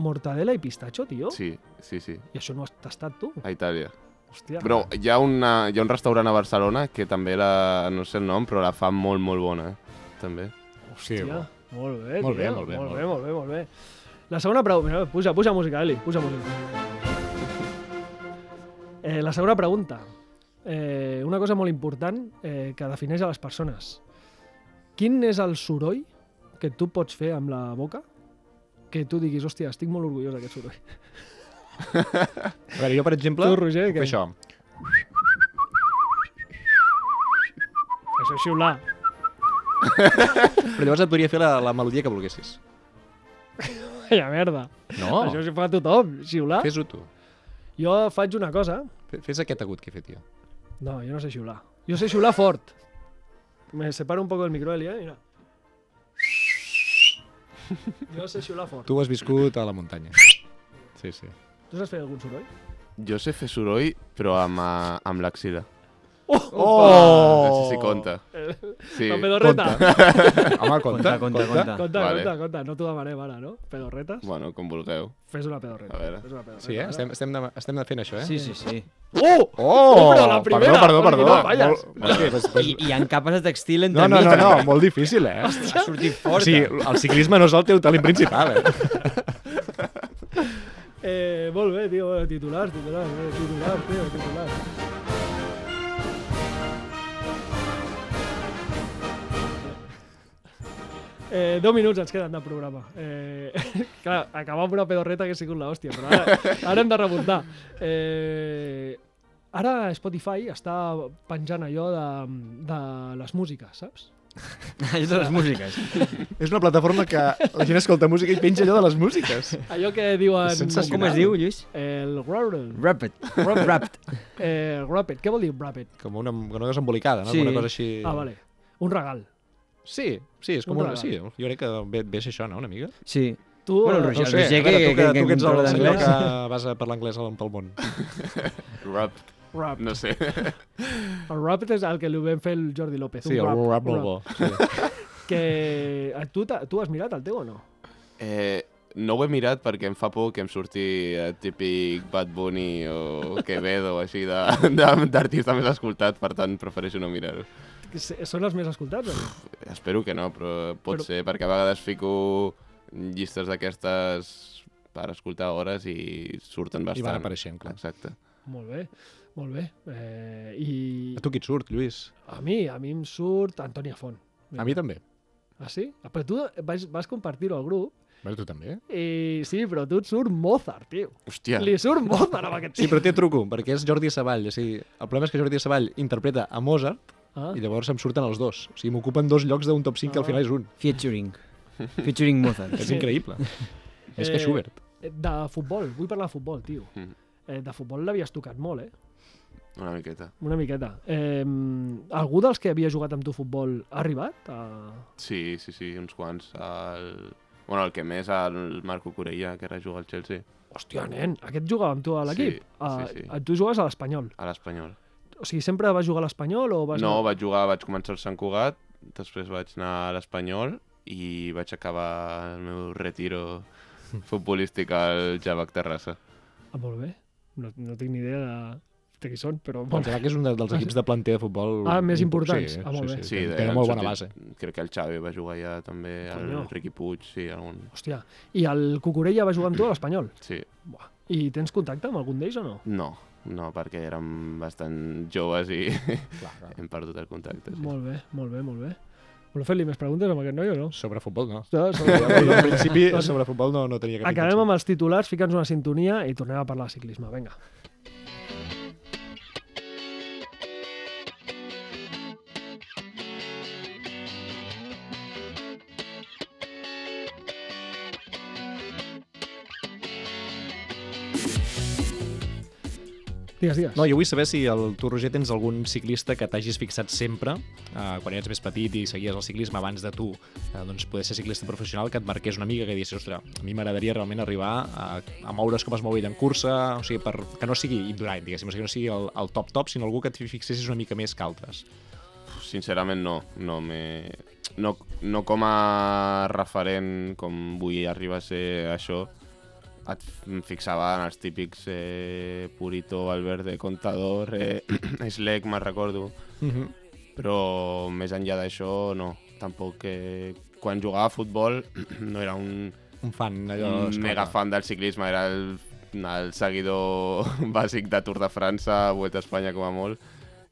S1: mortadela i pistatxo, tio.
S4: Sí, sí, sí,
S1: I això no has tastat tu?
S4: a Itàlia.
S1: Hòstia.
S4: Però hi ha, una, hi ha un restaurant a Barcelona que també la... no sé el nom, però la fa molt, molt bona. eh, També.
S2: Hòstia.
S1: Hòstia, molt bé,
S2: Molt bé,
S1: tio,
S2: molt bé,
S1: molt
S2: molt
S1: bé, molt bé, molt bé. La segona pregunta... Puja, puja música, Eli, puja música. Eh, la segona pregunta. Eh, una cosa molt important eh, que defineix a les persones. Quin és el soroll que tu pots fer amb la boca que tu diguis, hòstia, estic molt orgullós d'aquest soroll.
S2: A veure, jo, per exemple,
S1: Tu, Roger,
S2: puc
S1: què?
S2: fer això.
S1: Això és xiular.
S2: Però llavors et podria fer la, la melodia que volguessis.
S1: Vaya merda.
S2: No,
S1: Això s'ho fa tothom, xiular. Fes...
S2: fes-ho tu.
S1: Jo faig una cosa.
S2: Fe- Fes aquest agut que he fet jo.
S1: No, jo no sé xiular. Jo sé xiular fort. Me separo un poco del micro, Eli, eh? Mira. Jo sé xiular fort. Tu,
S2: Tu has viscut a la muntanya. Sí, sí.
S1: tu saps fer algun soroll?
S4: Jo sé fer soroll, però amb, eh, amb l'axila.
S2: Oh!
S4: No sé si compta. Sí.
S1: La pedorreta. Conta,
S2: Home,
S3: Conta,
S2: compte,
S3: conta,
S2: compte.
S3: conta.
S1: conta,
S4: Vale.
S1: conta, conta. No t'ho demanem ara, no? Pedorretes?
S4: Bueno, com vulgueu.
S1: Fes una
S4: A
S1: pedorreta.
S4: veure.
S1: Fes una pedorreta.
S2: Sí, eh?
S1: va.
S2: Estem, estem, de, estem de fent això, eh?
S3: Sí, sí, sí.
S1: Oh!
S2: Oh!
S1: Però la primera,
S2: perdó,
S1: perquè
S2: perdó,
S1: no
S2: perdó.
S1: falles.
S2: Molt- Sí, pues, pues...
S3: I, i hi ha capes de textil entre
S2: No, no, no,
S3: mig.
S2: no, molt difícil, eh?
S3: Ha sortit
S2: O
S3: fort.
S2: sigui, el ciclisme no és el teu talent principal, eh?
S1: Eh, molt bé, tio. Bueno, titulars, titulars, eh, titulars, tio, titulars. Eh, 10 minuts ens queden de programa. Eh, <laughs> clar, acabar amb una pedorreta que ha sigut l'hòstia, però ara, ara hem de remuntar. Eh, ara Spotify està penjant allò de, de les músiques, saps?
S3: Això de les músiques.
S2: És una plataforma que la gent escolta música i penja allò de les músiques.
S1: Allò que diuen...
S2: És sensacional.
S3: Com es diu, Lluís?
S1: El Rapid.
S3: Rapid. Rapid.
S1: Eh, Rapid. Què vol dir Rapid?
S2: Com una, una cosa embolicada, no?
S3: Sí.
S2: Com Una cosa així...
S1: Ah, vale. Un regal.
S2: Sí, sí, és com
S1: Un
S2: una...
S1: regal.
S2: Sí, jo crec que ve, ve a ser això, no, una mica?
S3: Sí.
S1: Tu,
S3: Bueno,
S1: eh,
S3: el Roger-
S1: no
S3: el
S1: sé,
S3: Roger
S2: a veure, tu que,
S3: que
S2: tu que ets el
S3: controla
S2: senyor
S3: l'anglès.
S2: que vas a parlar anglès al- pel món.
S4: Rap,
S1: rap.
S4: no sé.
S1: El rap és el que li vam fer el Jordi López.
S2: Sí,
S1: un
S2: el
S1: rap,
S2: rap
S1: un
S2: molt bo. Sí.
S1: Que... eh, Tu, t'ha- tu has mirat el teu o no?
S4: Eh, no ho he mirat perquè em fa por que em surti el típic Bad Bunny o Quevedo, així, de- de- d'artista més escoltat, per tant prefereixo no mirar-ho.
S1: Que s- Són els més escoltats? o no?
S4: Espero que no, però pot
S1: Però-
S4: ser, perquè a vegades fico llistes d'aquestes per escoltar hores i surten bastant.
S2: apareixent, clar.
S4: Exacte.
S1: Molt bé, molt bé. Eh, I
S2: A tu qui et surt, Lluís?
S1: a mi, a mi em surt Antònia Font.
S2: A mi també.
S1: Ah, sí? Ah, Però tu vas, vas compartir-ho al grup
S2: Bueno, tu també.
S1: i sí, però a tu et surt Mozart, tio.
S4: Hòstia.
S1: Li surt Mozart amb aquest
S2: Sí,
S1: tio.
S2: però té truco, perquè és Jordi Savall. O sigui, el problema és que Jordi Savall interpreta a Mozart
S1: Ah,
S2: i llavors em surten els dos. O sigui, m'ocupen dos llocs d'un top 5 que al final és un.
S3: Featuring. Featuring Mozart.
S2: És increïble. Més
S1: Eh,
S2: que Schubert.
S1: de futbol, vull parlar de futbol, tio.
S4: Mm.
S1: Eh, de futbol l'havies tocat molt, eh?
S4: Una miqueta.
S1: Una miqueta. Eh, algú dels que havia jugat amb tu a futbol ha arribat? A...
S4: Sí, sí, sí, uns quants. El... Bueno, el que més, el Marco Corella, que ara juga al Chelsea,
S1: Hòstia, nen, aquest jugava amb tu a l'equip?
S4: Sí,
S1: Ah,
S4: sí, sí.
S1: Tu jugaves a l'Espanyol.
S4: a l'Espanyol.
S1: O sigui, sempre vas jugar a l'Espanyol o vas...
S4: No,
S1: anar-
S4: vaig jugar, vaig començar al Sant Cugat, després vaig anar a l'Espanyol i vaig acabar el meu retiro futbolístic al Javac Terrassa.
S1: Ah, molt bé. No, no tinc ni idea de... de qui són,
S4: Doncs
S1: però...
S2: Em sembla que és un de- dels equips de planter de futbol...
S1: Ah, més
S2: impor-
S1: importants.
S2: Sí,
S1: Ah, molt
S2: sí,
S1: bé.
S2: sí,
S4: Sí,
S2: Té
S4: han
S2: molt bona base.
S4: sortit- Crec que el Xavi va jugar allà també, el
S1: Coño.
S4: Riqui Puig, sí, algun...
S1: Hòstia, i el Cucurella va jugar amb tu a l'Espanyol.
S4: Sí.
S1: Buah. I tens contacte amb algun d'ells o no?
S4: No, no, perquè érem bastant joves i <laughs>
S2: Clar, clar.
S4: hem perdut el contacte. Sí.
S1: Molt bé, molt bé, molt bé. Voleu fer-li més preguntes amb aquest noi o no?
S2: Sobre futbol, no?
S1: Ja,
S2: Al
S1: sobre-
S2: <laughs> principi, sobre futbol no, no tenia cap
S1: Acabem amb els titulars, fica'ns una sintonia i tornem a parlar de ciclisme. Vinga. Digues, digues.
S2: No, jo vull saber si el, tu, Roger, tens algun ciclista que t'hagis fixat sempre, eh, quan eres més petit i seguies el ciclisme abans de tu, eh, doncs poder ser ciclista professional, que et marqués una mica que diguessis, ostres, a mi m'agradaria realment arribar a, a moure's com es mou ell en cursa, o sigui, per, que no sigui indurant, diguéssim, o sigui, que no sigui el, el top-top, sinó algú que et fixessis una mica més que altres.
S4: Sincerament no, no me... No, no com a referent, com vull arribar a ser això, et f- em fixava en els típics eh, Purito, Valverde, Contador, eh, <clears throat> Slec, me'n recordo.
S2: Mm -hmm.
S4: però més enllà d'això no, tampoc que quan jugava a futbol <clears throat> no era un
S2: Un fan, allò...
S4: un Mm, mega fan del ciclisme, era el, el seguidor <laughs> bàsic de Tour de França, Vuelta a Espanya com a molt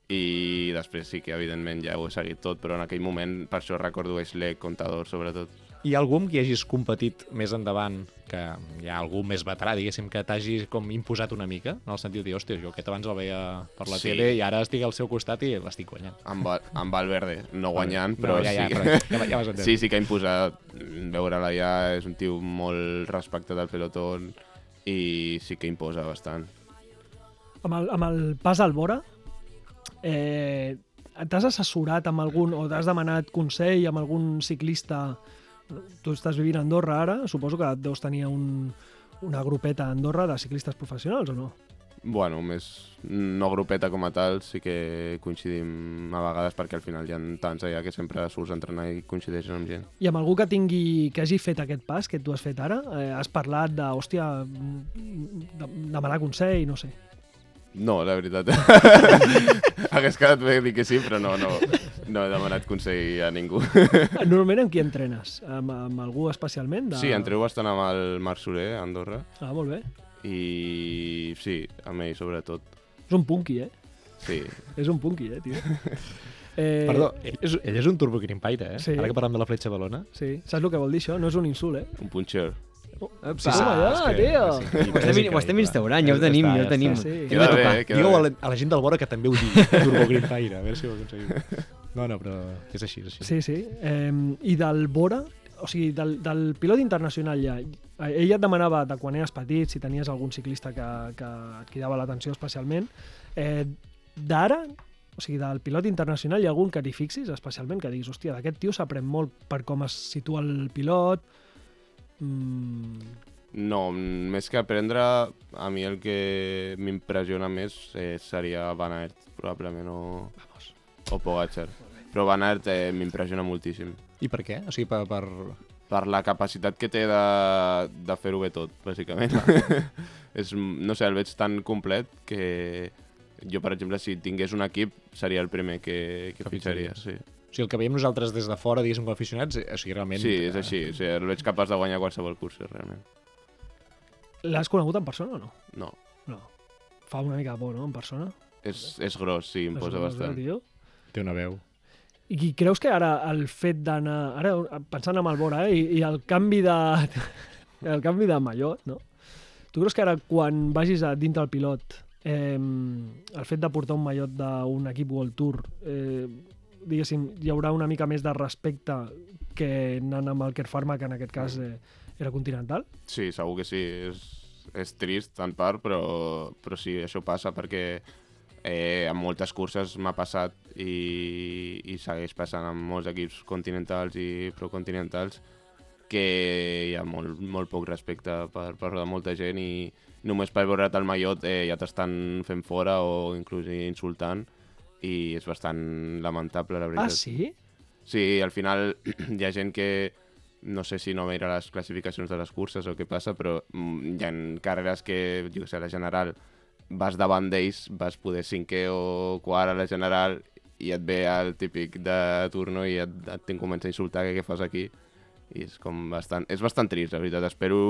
S4: i després sí que evidentment ja ho he seguit tot, però en aquell moment per això recordo Eslec, Contador sobretot.
S2: Hi ha algú amb qui hagis competit més endavant, que hi ha algú més veterà, diguéssim, que t'hagi com imposat una mica, en el sentit de dir, hòstia, jo aquest abans el veia per la sí.
S4: Sí.
S2: tele i ara estic al seu costat i l'estic guanyant.
S4: Amb, Val- amb Valverde, no guanyant, però
S2: ja, ja,
S4: sí,
S2: però ja, ja vas entendre.
S4: <laughs> Sí, sí que ha imposat veure'l allà, és un tio molt respectat al pelotó i sí que imposa bastant.
S1: amb el, amb el pas al vora, eh, t'has assessorat amb algun, o t'has demanat consell amb algun ciclista? Tu estàs vivint a Andorra ara, suposo que deus tenir un, una grupeta a Andorra de ciclistes professionals, o no?
S4: Bueno, més no grupeta com a tal, sí que coincidim a vegades perquè al final hi ha tants allà que sempre surts a entrenar i coincideixen amb gent.
S1: I amb algú que tingui que hagi fet aquest pas que tu has fet ara, eh, has parlat de, hòstia, mm, de, demanar consell, no sé.
S4: No, la veritat. Hagués quedat bé dir que sí, però no, no, no he demanat consell a ningú.
S1: Normalment amb qui entrenes? Amb, amb algú especialment? De...
S4: Sí, entreu bastant amb el Marc Soler, a Andorra,
S1: Ah, molt bé.
S4: i sí, amb ell sobretot.
S1: És un punky, eh?
S4: Sí,
S1: És un punky, eh, tio? Eh,
S2: Perdó, ell és, ell és un turbo grimpaire, eh?
S1: Sí.
S2: Sí. Ara que parlem de la fletxa balona.
S1: Sí, saps el que vol dir això? No és un insult, eh? Oh,
S4: un punxer.
S3: Epa,
S1: Sí, home, ja,
S2: és
S1: tio.
S3: Ho estem, ho estem instaurant, ja ho tenim, ja ho tenim.
S1: sí.
S3: Hem de
S4: Queda bé,
S3: tocar.
S4: eh? Queda
S2: Digueu a
S4: bé.
S2: la, a la gent del Bora que també ho <laughs> digui, turbo grimpaire, a veure si ho aconseguim. No, no, però és així, és així.
S1: Sí, sí. Eh, I del Bora, o sigui, del, del pilot internacional ja, ella et demanava de quan eres petit, si tenies algun ciclista que, que et cridava l'atenció especialment. Eh, D'ara, o sigui, del pilot internacional hi ha algun que t'hi fixis especialment, que diguis, hòstia, d'aquest tio s'aprèn molt per com es situa el pilot. Mm,
S4: No, mm, més que aprendre, a mi el que m'impressiona més eh, seria Van Aert, probablement, o,
S1: Vamos.
S4: o Pogacar. Però Van Aert eh, m'impressiona moltíssim
S2: I per què? O sigui, per... per...
S4: per la capacitat que té de, de fer-ho bé tot, bàsicament. <laughs> és, no sé, el veig tan complet que jo, per exemple, si tingués un equip, seria el primer que, que
S2: Que
S4: fitxaria.
S2: fitxaries.
S4: Sí.
S2: O sigui, el que veiem nosaltres des de fora, diguéssim, com a aficionats, o sigui, realment...
S4: sí, és
S2: eh,
S4: així. O sigui, el veig capaç de guanyar qualsevol curs, realment.
S1: L'has conegut en persona o no?
S4: No,
S1: No. Fa una mica de por, no?, en persona.
S4: és, és gros, sí, em
S1: És
S4: posa
S1: un-
S4: bastant.
S1: Tio.
S2: Té una veu.
S1: I creus que ara el fet d'anar... Ara, pensant en el Bora, eh, i, i el canvi de... <laughs> el canvi de mallot, no? Tu creus que ara, quan vagis a dintre el pilot, eh, el fet de portar un mallot d'un equip World Tour, eh, diguéssim, hi haurà una mica més de respecte que anant amb el Kerfarma, que en aquest cas eh, era continental? Ah,
S4: Sí, segur que sí. És, és trist, en part, però, però sí, això passa perquè eh, en moltes curses m'ha passat i, i segueix passant amb molts equips continentals i procontinentals que hi ha molt, molt poc respecte per, per de molta gent i només per veure't el mallot eh, ja t'estan fent fora o inclús insultant i és bastant lamentable, la
S1: Ah,
S4: veritat.
S1: sí?
S4: Sí, al final <clears throat> hi ha gent que no sé si no mira les classificacions de les curses o què passa, però mm, hi ha carreres que, jo què sé, a la general mm, vas davant d'ells, vas poder cinquè o quart a la general i et ve el típic de turno i et, et tinc comença a insultar que què fas aquí i és com bastant, és bastant trist, la veritat, espero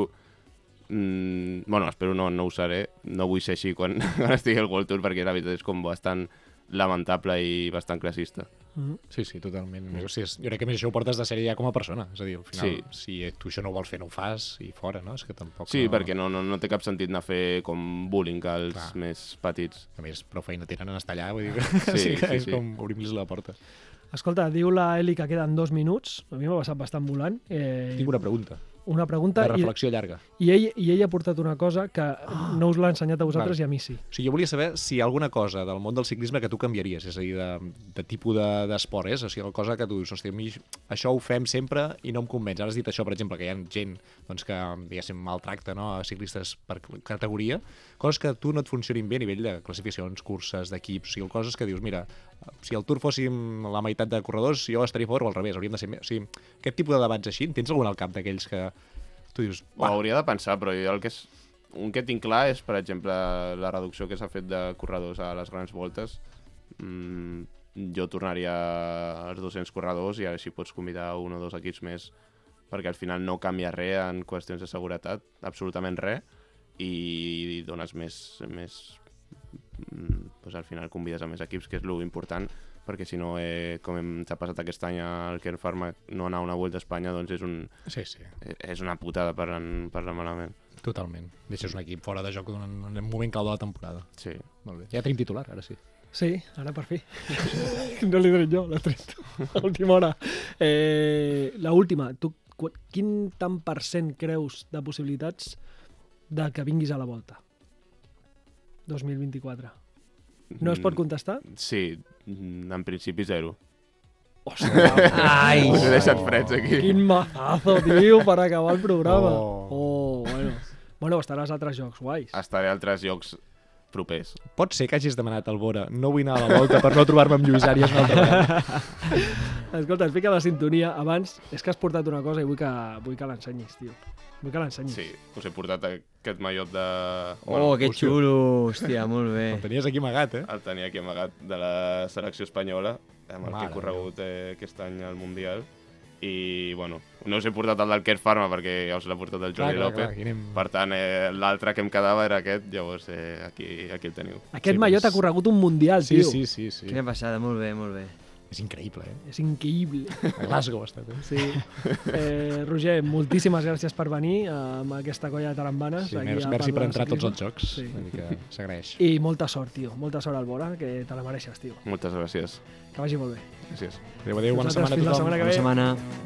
S4: mm, bueno, espero no, no ho seré no vull ser així quan, <laughs> quan estigui al World Tour perquè la veritat és com bastant lamentable i bastant classista
S2: Sí, sí, totalment. Mm. O sigui, és- jo crec que més això ho portes de sèrie ja com a persona. És a dir, al final, sí. si eh, tu això no ho vols fer, no ho fas i fora, no? És que tampoc...
S4: sí,
S2: no...
S4: perquè no, no, no té cap sentit anar a fer com bullying als
S2: Clar.
S4: més petits
S2: A més, prou feina tenen en estar allà, vull dir, <laughs> sí, sí,
S4: sí,
S2: que és
S4: sí.
S2: com obrir-los la porta.
S1: Escolta, diu la Eli que queden dos minuts. A mi m'ha passat bastant volant. Eh,
S2: Tinc una pregunta,
S1: una pregunta
S2: de
S1: i,
S2: reflexió llarga.
S1: i, ell, i ell ha portat una cosa que no us l'ha ensenyat a vosaltres
S2: Ah. Vale.
S1: i a mi sí.
S2: O sigui, jo volia saber si hi ha alguna cosa del món del ciclisme que tu canviaries, és a dir, de, de tipus de- d'esport, de, és? O sigui, alguna cosa que tu dius, hòstia, a mi això ho fem sempre i no em convenç. Ara has dit això, per exemple, que hi ha gent doncs, que, diguéssim, maltracta no, a ciclistes per categoria, coses que a tu no et funcionin bé a nivell de classificacions, curses, d'equips, o sigui, coses que dius, mira, si el Tour fóssim la meitat de corredors, jo estaria a favor o al revés, hauríem de ser més... O sigui, aquest tipus de debats així, en tens algun al cap d'aquells que tu dius,
S4: Ho hauria de pensar, però jo el que és, un que tinc clar és, per exemple, la reducció que s'ha fet de corredors a les grans voltes. Mm, jo tornaria als 200 corredors i així pots convidar un o dos equips més perquè al final no canvia res en qüestions de seguretat, absolutament res, i dones més... més mm, doncs al final convides a més equips, que és lo important, perquè si no, eh, com hem- s'ha passat aquest any al Kern Pharma, no anar a una Vuelta a Espanya, doncs és un,
S2: sí, sí,
S4: Eh, És una putada per, en, per la malament.
S2: totalment. Deixes un equip fora de joc en un en un moment clau de la temporada.
S4: Sí.
S2: Molt bé. Ja tenim titular, ara sí.
S1: Sí, ara
S2: <laughs>
S1: per fi. No l'he tret jo, l'he tret tu, a última hora. Eh, la última, tu qu- quin tant per cent creus de possibilitats de que vinguis a la volta? 2024. No es
S2: Mm.
S1: pot contestar?
S4: Sí, mm, en principi zero.
S3: Ai!
S4: <laughs> Oh. Us he deixat freds aquí.
S1: Quin mazazo, tio, per acabar el programa.
S2: Oh.
S1: Oh, bueno. Bueno, estaràs a altres jocs guais.
S4: Estaré a altres llocs propers.
S2: Pot ser que hagis demanat al Bora no vull anar a la volta per no trobar-me amb Lluís Àries una altra vegada.
S1: <laughs> Escolta, es fica la sintonia. Abans, és que has portat una cosa i vull que, vull que l'ensenyis, tio. Vull que l'ensenyis.
S4: Sí, us he portat aquest mallot de...
S3: Oh, que
S2: hòstia.
S3: xulo! Hòstia, molt bé.
S2: El tenies aquí amagat, eh?
S4: El tenia aquí amagat de la selecció espanyola, amb el
S2: Mare
S4: que he corregut eh, aquest any al Mundial. I, bueno, no us he portat el del Kerr Pharma perquè ja us l'ha portat el Jordi López.
S2: aquí anem...
S4: Per tant, eh, l'altre que em quedava era aquest, llavors eh, aquí, aquí el teniu.
S1: Aquest
S2: Sí,
S1: sí, mallot
S2: però
S1: ha
S2: és-
S1: corregut un mundial,
S2: Sí,
S1: tio.
S2: sí, sí, sí.
S3: Quina passada, molt bé, molt bé.
S2: És increïble, eh?
S1: És increïble.
S2: A Glasgow ha estat, eh? <laughs>
S1: Sí. Eh, Roger, moltíssimes gràcies per venir eh, amb aquesta colla de tarambanes.
S2: Sí,
S1: aquí
S2: merci,
S1: a
S2: merci
S1: Parla
S2: per
S1: de
S2: entrar a tots els
S1: Ciclisme.
S2: jocs.
S1: Sí.
S2: Sí. Una mica s'agraeix.
S1: I molta sort, tio. Molta sort al Bora, que te la mereixes, tio.
S4: Moltes gràcies.
S1: Que vagi molt bé.
S4: Gràcies.
S2: Adéu, adéu, bona
S1: Nosaltres
S2: setmana a
S1: fins la
S2: tothom.
S1: setmana que
S3: Bona
S1: ve.
S3: setmana.